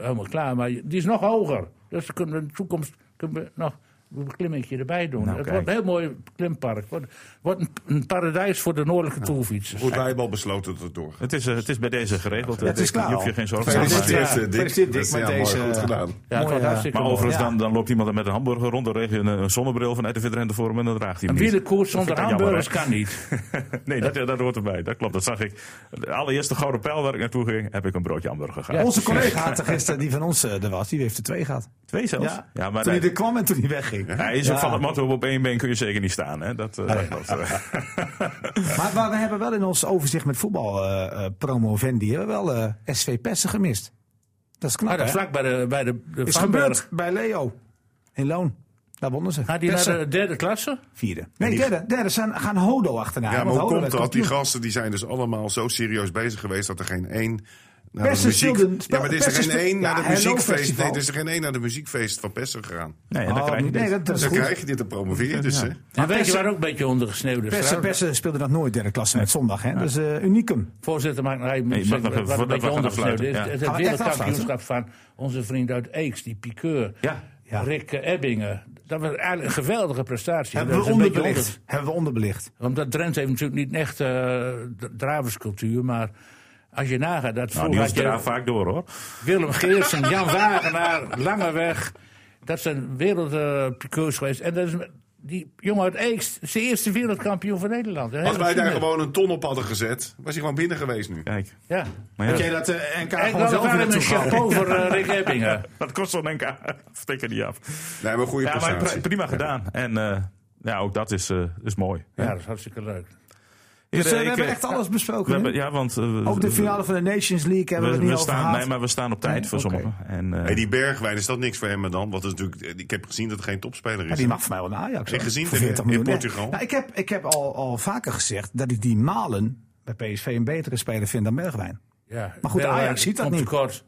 Speaker 3: helemaal klaar, maar die is nog hoger. Dus dan kunnen we in de toekomst kunnen we nog een beklimmingje erbij doen.
Speaker 2: Nou,
Speaker 3: het
Speaker 2: kijk.
Speaker 3: wordt een heel mooi klimpark. Wordt, wordt een, een paradijs voor de noordelijke toerfietsers.
Speaker 5: Goed, wij hebben al besloten dat het doorgaat.
Speaker 2: het, is, eh, het is bij deze geregeld.
Speaker 4: het is
Speaker 2: Dick.
Speaker 4: klaar
Speaker 2: Je hoeft je
Speaker 4: al.
Speaker 2: geen zorgen te maken.
Speaker 5: Gefeliciteerd,
Speaker 4: ja.
Speaker 5: eh, Dick.
Speaker 4: Gefeliciteerd, Dick,
Speaker 5: Dat is
Speaker 4: met
Speaker 5: ja, mooi,
Speaker 4: deze,
Speaker 5: goed
Speaker 4: eh,
Speaker 5: gedaan.
Speaker 3: Ja, het
Speaker 4: Mooi,
Speaker 3: wordt
Speaker 4: ja.
Speaker 3: hartstikke
Speaker 2: Maar
Speaker 3: mooi.
Speaker 2: overigens,
Speaker 4: Ja.
Speaker 2: dan, dan loopt iemand met een hamburger rond, dan regel je een, een zonnebril vanuit de Vitrennen voor hem en dan draagt hij
Speaker 3: Een
Speaker 2: hem niet.
Speaker 3: wielerkoers
Speaker 2: Dat vind ik
Speaker 3: zonder
Speaker 2: dan jammer,
Speaker 3: hamburgers
Speaker 2: hè?
Speaker 3: kan niet.
Speaker 2: Nee, dat, dat hoort erbij. Dat klopt, dat zag ik. De allereerste gouden pijl waar ik naartoe ging, heb ik een broodje hamburger gehaald.
Speaker 4: Onze collega had er gisteren, die van ons eh, er was, die heeft er twee gehad.
Speaker 2: Twee zelfs.
Speaker 4: Ja,
Speaker 2: maar
Speaker 4: toen
Speaker 2: hij,
Speaker 4: hij er kwam en toen hij wegging.
Speaker 2: hij is ook
Speaker 4: Ja.
Speaker 2: van het motto op één been kun je zeker niet staan. Hè? Dat, eh, dat klopt.
Speaker 4: Maar, maar we hebben wel in ons overzicht met voetbal eh, eh, promovendi hebben we wel eh, SV Pessen gemist. Dat is knap,
Speaker 3: Ah, dat
Speaker 4: hè?
Speaker 3: is vlak bij de, bij de, de
Speaker 4: Is
Speaker 3: Vanberg.
Speaker 4: gebeurd bij Leo. In Loon. Daar wonnen ze.
Speaker 3: Gaat hij naar
Speaker 4: Pessen,
Speaker 3: de derde klasse?
Speaker 4: vierde. Nee, derde. Derde zijn, gaan Hodo achterna.
Speaker 5: Ja,
Speaker 4: want
Speaker 5: maar hoe
Speaker 4: Hodo
Speaker 5: komt
Speaker 4: werd
Speaker 5: dat? Die
Speaker 4: kampioen.
Speaker 5: gasten die zijn dus allemaal zo serieus bezig geweest dat er geen één. Naar
Speaker 4: Persen
Speaker 5: de muziek...
Speaker 4: speelde-
Speaker 5: ja, maar er is er
Speaker 4: Persen
Speaker 5: geen
Speaker 4: speel-
Speaker 5: één naar
Speaker 4: Ja,
Speaker 5: het
Speaker 4: Hello
Speaker 5: muziekfeest.
Speaker 4: Festival.
Speaker 5: Nee, er is er geen één naar de muziekfeest van Pessen gegaan.
Speaker 2: Nee, en dan
Speaker 4: Oh,
Speaker 2: krijg je
Speaker 4: nee,
Speaker 2: dit.
Speaker 4: dat, dat is
Speaker 5: Dan
Speaker 4: goed.
Speaker 5: krijg je dit een promoveren dus, hè?
Speaker 3: En weet je waar ook een beetje ondergesneeuwd is?
Speaker 4: Persen,
Speaker 3: trouwens?
Speaker 4: Persen speelde nog nooit derde klasse met zondag. Hè? Dus eh, unicum.
Speaker 3: Voorzitter maakt nog even
Speaker 2: Nee, je mag nog
Speaker 3: wat
Speaker 2: even
Speaker 3: een
Speaker 2: voordat we
Speaker 3: beetje
Speaker 2: gaan
Speaker 3: ondergesneeuwd is.
Speaker 2: afsluiten, ja.
Speaker 3: Het,
Speaker 4: Gaan
Speaker 3: het
Speaker 4: we echt
Speaker 3: wereldkampioenschap van onze vriend uit Eeks, die piqueur.
Speaker 2: Ja,
Speaker 4: ja.
Speaker 3: Rick eh, Ebbingen. Dat was eigenlijk een geweldige prestatie.
Speaker 4: Hebben
Speaker 3: Dat
Speaker 4: we,
Speaker 3: is een beetje
Speaker 4: onderbelicht. hebben we onderbelicht.
Speaker 3: onder- Omdat Drenthe heeft natuurlijk niet echt eh d- draverscultuur, maar... Als je nagaat dat
Speaker 2: Nou,
Speaker 3: vroeger
Speaker 2: Niels
Speaker 3: had je
Speaker 2: draait vaak door hoor.
Speaker 3: Willem Geersen, Jan Wagenaar, Langeweg. Dat zijn wereldpiqueurs geweest. En dat is die jongen uit Eeks, is de eerste wereldkampioen van Nederland. Een
Speaker 5: Als
Speaker 3: hele
Speaker 5: wij daar
Speaker 3: tiener.
Speaker 5: gewoon een ton op hadden gezet, was hij gewoon binnen geweest nu.
Speaker 2: Kijk.
Speaker 3: Ja.
Speaker 2: Maar ja,
Speaker 4: dat de NK
Speaker 3: En dan waren we een chapeau voor eh, Rick Ebbingen.
Speaker 2: dat kost zo'n NK. Stik er niet af.
Speaker 5: Nee, maar een goede
Speaker 2: Ja, maar
Speaker 5: prestatie.
Speaker 2: pri- prima gedaan. En eh, ja, ook dat is, eh, is mooi.
Speaker 3: Ja, dat is hartstikke leuk.
Speaker 4: Dus eh,
Speaker 2: Heren,
Speaker 4: we
Speaker 2: ik,
Speaker 4: hebben
Speaker 2: eh,
Speaker 4: echt alles
Speaker 2: we
Speaker 4: besproken. hè?
Speaker 2: hebben- ja, want eh, we-
Speaker 4: Ook de finale van de Nations League hebben we,
Speaker 2: we,
Speaker 4: het niet
Speaker 2: we
Speaker 4: over
Speaker 2: staan,
Speaker 4: gehad.
Speaker 2: nee, maar we staan op tijd
Speaker 4: Nee,
Speaker 2: voor
Speaker 4: oké.
Speaker 2: sommigen. En, eh,
Speaker 5: Hey, die Bergwijn, is dat niks voor hem dan? Want dat is natuurlijk, eh, ik heb gezien dat het geen topspeler
Speaker 4: Ja,
Speaker 5: is.
Speaker 4: die mag voor mij wel naar Ajax.
Speaker 5: Heb je
Speaker 4: hoor.
Speaker 5: gezien
Speaker 4: Voor
Speaker 5: in-
Speaker 4: 40
Speaker 5: in
Speaker 4: miljoen.
Speaker 5: Portugal?
Speaker 4: Ja, Nou, ik heb, ik heb al, al vaker gezegd dat ik die Malen bij PSV een betere speler vind dan Bergwijn.
Speaker 3: Ja,
Speaker 4: Maar goed,
Speaker 3: Bergwijn
Speaker 4: Ajax ziet dat
Speaker 3: komt
Speaker 4: niet.
Speaker 3: tekort.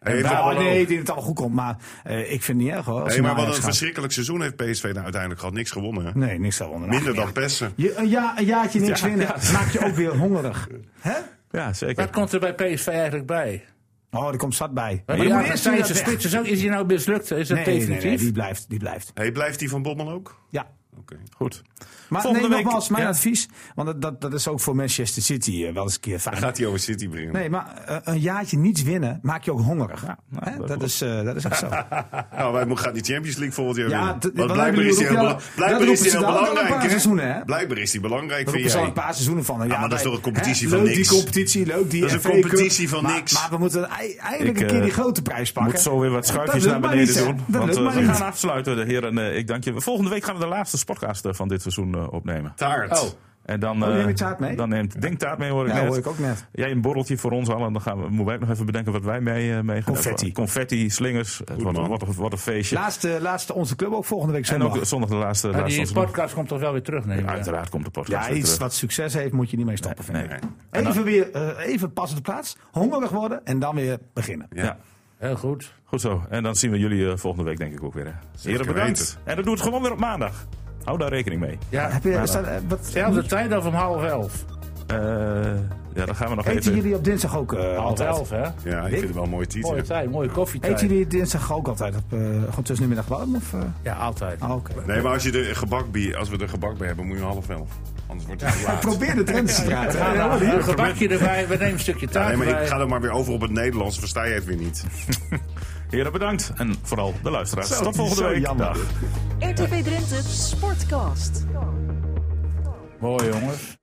Speaker 5: Hey,
Speaker 4: Ja,
Speaker 5: maar-
Speaker 4: Nou, nee, die het al goed komt, maar eh, ik vind het niet erg hoor. als
Speaker 5: Hey,
Speaker 4: hij
Speaker 5: maar
Speaker 4: naar
Speaker 5: wat een
Speaker 4: Ajax gaat.
Speaker 5: verschrikkelijk seizoen heeft PSV nou uiteindelijk gehad. Niks gewonnen, hè?
Speaker 4: Nee, niks Nou, zou onder.
Speaker 5: Minder dan Pessen.
Speaker 4: Je, een, ja, een jaartje niks
Speaker 2: Ja,
Speaker 4: winnen maakt je ook weer hongerig. Hè?
Speaker 2: ja, zeker.
Speaker 3: Wat komt er bij PSV eigenlijk bij?
Speaker 4: Oh, er komt zat bij.
Speaker 3: Maar
Speaker 4: je
Speaker 3: die
Speaker 4: moet
Speaker 3: Argentijnse
Speaker 4: weer-
Speaker 3: spits is ook, is hij nou mislukt? Is dat
Speaker 4: Nee, nee, nee,
Speaker 3: definitief?
Speaker 4: die blijft, die blijft.
Speaker 5: Hey, blijft die van Bommel ook?
Speaker 4: Ja.
Speaker 5: Oké.
Speaker 2: Goed.
Speaker 4: Maar
Speaker 2: Volgende
Speaker 4: nee,
Speaker 2: week-
Speaker 4: nogmaals, mijn
Speaker 2: ja.
Speaker 4: advies, want dat, dat, dat is ook voor Manchester City eh, wel eens een keer fijn.
Speaker 5: Gaat hij over City brengen?
Speaker 4: Nee, maar eh, een jaartje niets winnen maakt je ook hongerig.
Speaker 2: nou,
Speaker 4: Hè?
Speaker 2: dat
Speaker 4: Dat, is, eh, dat is echt zo.
Speaker 5: Nou, wij moeten- gaan die Champions League volgend jaar
Speaker 4: Ja,
Speaker 5: winnen.
Speaker 4: dat-
Speaker 5: Want
Speaker 4: dat
Speaker 5: blijkbaar is die
Speaker 4: roepen
Speaker 5: heel,
Speaker 4: jullie-
Speaker 5: bela-
Speaker 4: dat
Speaker 5: blijkbaar is die
Speaker 4: roepen ze
Speaker 5: heel
Speaker 4: dan al
Speaker 5: belangrijk.
Speaker 4: een paar
Speaker 5: hè?
Speaker 4: seizoenen, hè?
Speaker 5: Blijkbaar is die belangrijk
Speaker 4: Daar
Speaker 5: voor
Speaker 4: roepen ze al een
Speaker 5: jij.
Speaker 4: paar seizoenen van. eh, Ja,
Speaker 5: maar dat
Speaker 4: wij-
Speaker 5: is toch een competitie
Speaker 4: hè,
Speaker 5: van
Speaker 4: leuk
Speaker 5: niks?
Speaker 4: die competitie, leuk die
Speaker 5: Dat is een
Speaker 4: FA Cup.
Speaker 5: competitie van
Speaker 4: Maar-
Speaker 5: niks.
Speaker 4: Maar we moeten ei- eindelijk
Speaker 2: Ik,
Speaker 4: een keer die
Speaker 2: eh,
Speaker 4: grote prijs pakken.
Speaker 2: Moet zo weer wat schuifjes naar
Speaker 4: Dat lukt maar
Speaker 2: beneden
Speaker 4: niet,
Speaker 2: doen.
Speaker 4: hè? Dat
Speaker 2: want
Speaker 4: lukt
Speaker 2: eh,
Speaker 4: maar
Speaker 2: we
Speaker 4: niet.
Speaker 2: gaan afsluiten, de heren. eh, ik dank je. Volgende week gaan we de laatste sportcast eh, van dit seizoen eh, opnemen.
Speaker 5: Taart.
Speaker 3: Oh.
Speaker 2: En dan,
Speaker 4: Oh, neem je
Speaker 2: eh,
Speaker 4: taart mee?
Speaker 2: Dan neemt Dink taart mee, hoor ik
Speaker 4: Ja,
Speaker 2: net.
Speaker 4: hoor ik ook net.
Speaker 2: Jij een borreltje voor ons allen. Dan gaan we, moeten wij ook nog even bedenken wat wij mee, eh, mee gaan
Speaker 4: Confetti.
Speaker 2: hebben. Confetti, slingers. Het wordt een-
Speaker 5: man.
Speaker 2: wat, een- wat een feestje.
Speaker 4: Laatste, laatste onze club ook volgende week
Speaker 2: en
Speaker 4: zondag.
Speaker 2: ook zondag de laatste.
Speaker 3: Maar
Speaker 2: laatste
Speaker 3: die
Speaker 2: zondag.
Speaker 3: podcast komt toch wel weer terug, neem ik aan.
Speaker 2: Uiteraard komt de podcast
Speaker 4: ja,
Speaker 2: weer
Speaker 4: iets
Speaker 2: terug.
Speaker 4: wat succes heeft moet je niet mee stoppen.
Speaker 2: Nee,
Speaker 4: vind ik.
Speaker 2: nee.
Speaker 4: Even weer eh, even pas op de plaats, hongerig worden en dan weer beginnen.
Speaker 2: Ja.
Speaker 3: Heel goed.
Speaker 2: goed zo. En dan zien we jullie eh, volgende week denk ik ook weer. hè. Heren bedankt.
Speaker 5: weten.
Speaker 2: En dat doet het gewoon weer op maandag. Hou daar rekening mee.
Speaker 3: Ja,
Speaker 4: Heb je, staat, eh, wat,
Speaker 3: Zelfde tijd of om half elf.
Speaker 2: Eh, ja, dan gaan we nog
Speaker 4: eten
Speaker 2: even...
Speaker 4: jullie op dinsdag ook eh,
Speaker 3: Half
Speaker 4: altijd?
Speaker 3: elf, hè?
Speaker 5: Ja, ik vind het wel een mooie titel.
Speaker 3: Mooie tijd, mooie
Speaker 4: Eet
Speaker 3: koffietijd.
Speaker 4: jullie dinsdag ook altijd op, eh, gewoon tussen nu middag warm? Of, eh?
Speaker 3: Ja, altijd.
Speaker 4: Ah, oké.
Speaker 5: Nee, maar als, je de gebak bij, als we er gebak bij hebben, moet je om half elf. Anders wordt het te laat.
Speaker 4: Probeer de trends te praten.
Speaker 3: Ja, nou, een gebakje erbij, we nemen een stukje taart
Speaker 5: Nee, maar
Speaker 3: erbij.
Speaker 5: ik ga er maar weer over op het Nederlands. Versta je het weer niet.
Speaker 2: Heren bedankt. En vooral de luisteraars.
Speaker 4: Zo,
Speaker 2: Tot volgende
Speaker 4: zo
Speaker 2: week.
Speaker 4: jammer.
Speaker 2: Dag.
Speaker 1: RTV Drenthe Sportcast.
Speaker 3: Mooi, jongens.